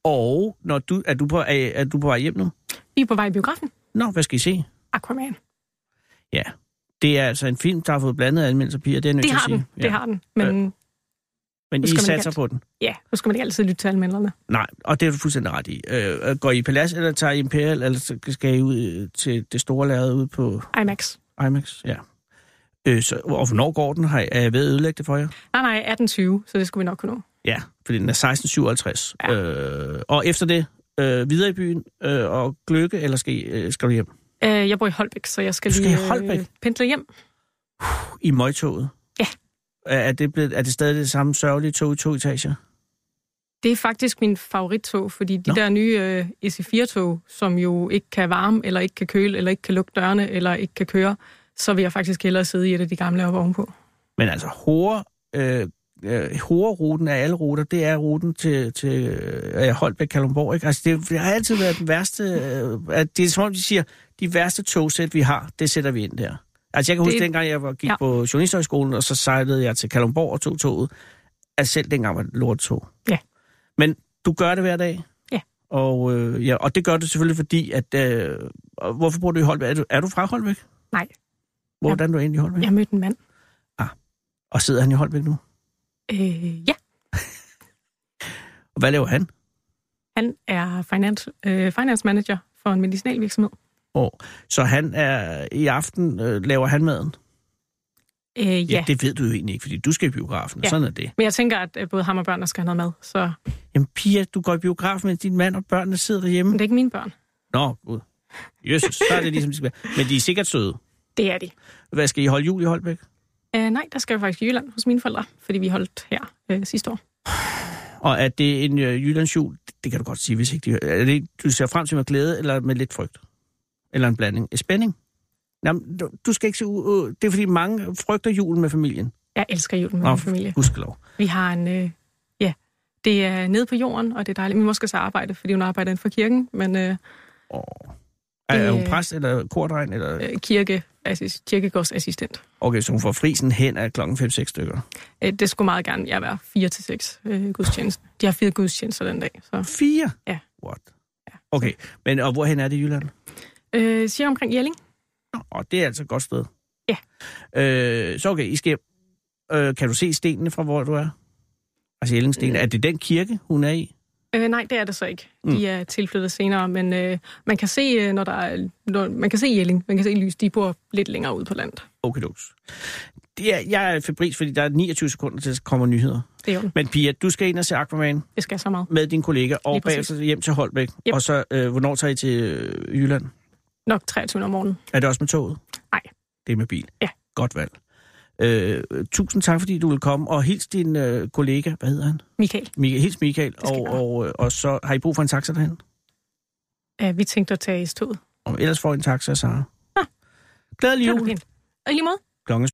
Speaker 3: Og når du, er, du på, er, er du på vej hjem nu?
Speaker 8: Vi er på vej i biografen.
Speaker 3: Nå, hvad skal I se?
Speaker 8: Aquaman.
Speaker 3: Ja. Det er altså en film, der har fået blandet anmeldelser, Pia. Det er jeg nødt
Speaker 8: Det
Speaker 3: til at
Speaker 8: har
Speaker 3: sige.
Speaker 8: den. Det har den. Men øh.
Speaker 3: Men I
Speaker 8: Det skal man ikke
Speaker 3: satser
Speaker 8: altid.
Speaker 3: på den?
Speaker 8: ja, nu skal man ikke altid lytte til anmelderne.
Speaker 3: Nej, og det er du fuldstændig ret i. Øh, går I i Palace, eller tager I Imperial, eller så skal I ud øh, til det store lærred ude på
Speaker 8: IMAX.
Speaker 3: IMAX? Ja. Øh, så, og hvornår går den? Har I, er jeg ved at ødelægge det for jer?
Speaker 8: Nej, nej, 1820, så det skulle vi nok kunne nå.
Speaker 3: Ja, fordi den er 1657. Ja.
Speaker 8: Ja.
Speaker 3: Øh, og efter det, øh, videre i byen øh, og gløkke, eller skal, I, øh, skal du hjem?
Speaker 8: Øh, jeg bor i Holbæk, så jeg skal,
Speaker 3: Du skal
Speaker 8: lige øh,
Speaker 3: i Holbæk?
Speaker 8: pendle hjem.
Speaker 3: I møgtoget?
Speaker 8: Ja.
Speaker 3: Er er det, blevet, er det stadig det samme sørgelige tog i to etager?
Speaker 8: Det er faktisk min favorittog, fordi de
Speaker 3: Nå.
Speaker 8: Nå. der nye øh, EC4-tog, som jo ikke kan varme, eller ikke kan køle, eller ikke kan lukke dørene, eller ikke kan køre, så vil jeg faktisk hellere sidde i et af de gamle oppe ovenpå.
Speaker 3: Men altså, hore, øh, øh, Hore-ruten af alle ruter, det er ruten til, til øh, Holbæk Kalundborg. Ikke? Altså, det, det har altid været den værste... Øh, at det er som om, de siger, de værste togsæt, vi har, det sætter vi ind der. Altså, jeg kan huske, det...
Speaker 8: Det-
Speaker 3: dengang jeg var, gik ja.
Speaker 8: Ja.
Speaker 3: på Journalisthøjskolen, og så sejlede jeg til Kalundborg og tog toget. Altså, selv dengang var det lortog.
Speaker 8: Ja.
Speaker 3: Men du gør det hver dag?
Speaker 8: Ja.
Speaker 3: Og, øh, ja, og det gør du selvfølgelig, fordi at... Øh, og hvorfor bor du i Holbæk? Er du, er du fra Holbæk?
Speaker 8: Nej,
Speaker 3: Hvordan er du egentlig i Holbæk?
Speaker 8: jeg mødte en mand.
Speaker 3: Og sidder han i Holbæk nu?
Speaker 8: Øh, ja,
Speaker 3: Og hvad laver han?
Speaker 8: han er finance, øh, finance manager for en medicinalvirksomhed.
Speaker 3: Og, så han er i aften øh, laver han maden.
Speaker 8: Øh, ja.
Speaker 3: Ja, det ved du jo egentlig ikke, fordi du skal i biografen, og
Speaker 8: Ja.
Speaker 3: sådan er det.
Speaker 8: Men jeg tænker, at øh, både ham og børnene skal have noget mad, så
Speaker 3: Jamen Pia, du går i biografen, mens din mand og børnene sidder
Speaker 8: men
Speaker 3: derhjemme.
Speaker 8: det er ikke mine børn.
Speaker 3: Nå, gud. Jesus, så er det ligesom, de skal være. Men de er sikkert søde.
Speaker 8: Det er de.
Speaker 3: Hvad skal I holde jul i Holbæk?
Speaker 8: Øh, nej, der skal jeg faktisk i Jylland hos mine forældre, fordi vi holdt her øh, sidste år.
Speaker 3: Og er det en øh, jyllandsjul? Det kan du godt sige, hvis ikke de, er det, du ser frem til med glæde, eller med lidt frygt? Eller en blanding? En spænding? Jamen, du, du skal ikke se ud. Øh, det er fordi mange frygter julen med familien.
Speaker 8: Jeg elsker julen med
Speaker 3: Nå,
Speaker 8: min familie.
Speaker 3: gudskelov.
Speaker 8: Vi har en... Øh, ja, det er nede på jorden, og det er dejligt. Min mor skal så arbejde, fordi hun arbejder inden for kirken, men øh,
Speaker 3: Åh. Er, er hun
Speaker 8: Øh.
Speaker 3: præst, eller kordregn, eller...
Speaker 8: øh, kirke, assist, kirkegårdsassistent.
Speaker 3: Okay, så hun får frisen hen af klokken 5-6 stykker.
Speaker 8: Øh, det skulle meget gerne jeg være 4 til 6 øh, gudstjeneste. De har fire gudstjenester den dag, så...
Speaker 3: 4?
Speaker 8: Ja.
Speaker 3: What?
Speaker 8: Ja.
Speaker 3: Okay, men og hvorhen er det i Jylland?
Speaker 8: Øh, siger omkring Jelling?
Speaker 3: Nå, og det er altså et godt sted.
Speaker 8: Ja.
Speaker 3: Øh, så okay, I skal hjem. øh, Kan du se stenene fra, hvor du er? Altså Ellingstenene. Er det den kirke, hun er i?
Speaker 8: Øh, nej, det er det så ikke. De er tilflyttet senere, men øh, man kan se, øh, når der er, når, man kan se Jelling, man kan se Lys, de bor lidt længere ude på landet.
Speaker 3: Okay, det er, jeg er febrils, fordi der er 29 sekunder til, at der kommer nyheder.
Speaker 8: Det er jo,
Speaker 3: Men Pia, du skal ind og se Aquaman
Speaker 8: det skal så meget.
Speaker 3: med din kollega, og
Speaker 8: Lige præcis.
Speaker 3: bagefter hjem til Holbæk.
Speaker 8: Yep.
Speaker 3: Og så, øh, hvornår tager I til øh, Jylland?
Speaker 8: Nok 23 om morgenen.
Speaker 3: Er det også med toget?
Speaker 8: Nej.
Speaker 3: Det er med bil?
Speaker 8: Ja.
Speaker 3: Godt valg. Øh, tusind tak, fordi du ville komme, og hils din øh, kollega, hvad hedder han?
Speaker 8: Michael,
Speaker 3: Michael, hils Michael,
Speaker 8: skal
Speaker 3: og,
Speaker 8: jeg gøre.
Speaker 3: og, øh, og så har I brug for en taxa derhen?
Speaker 8: øh, vi tænkte at tage i toget.
Speaker 3: Og ellers får I en taxa af Sara. Ah. Glædelig
Speaker 8: Det er du
Speaker 3: jul.
Speaker 8: pænt. Og i lige måde.
Speaker 3: Klokken er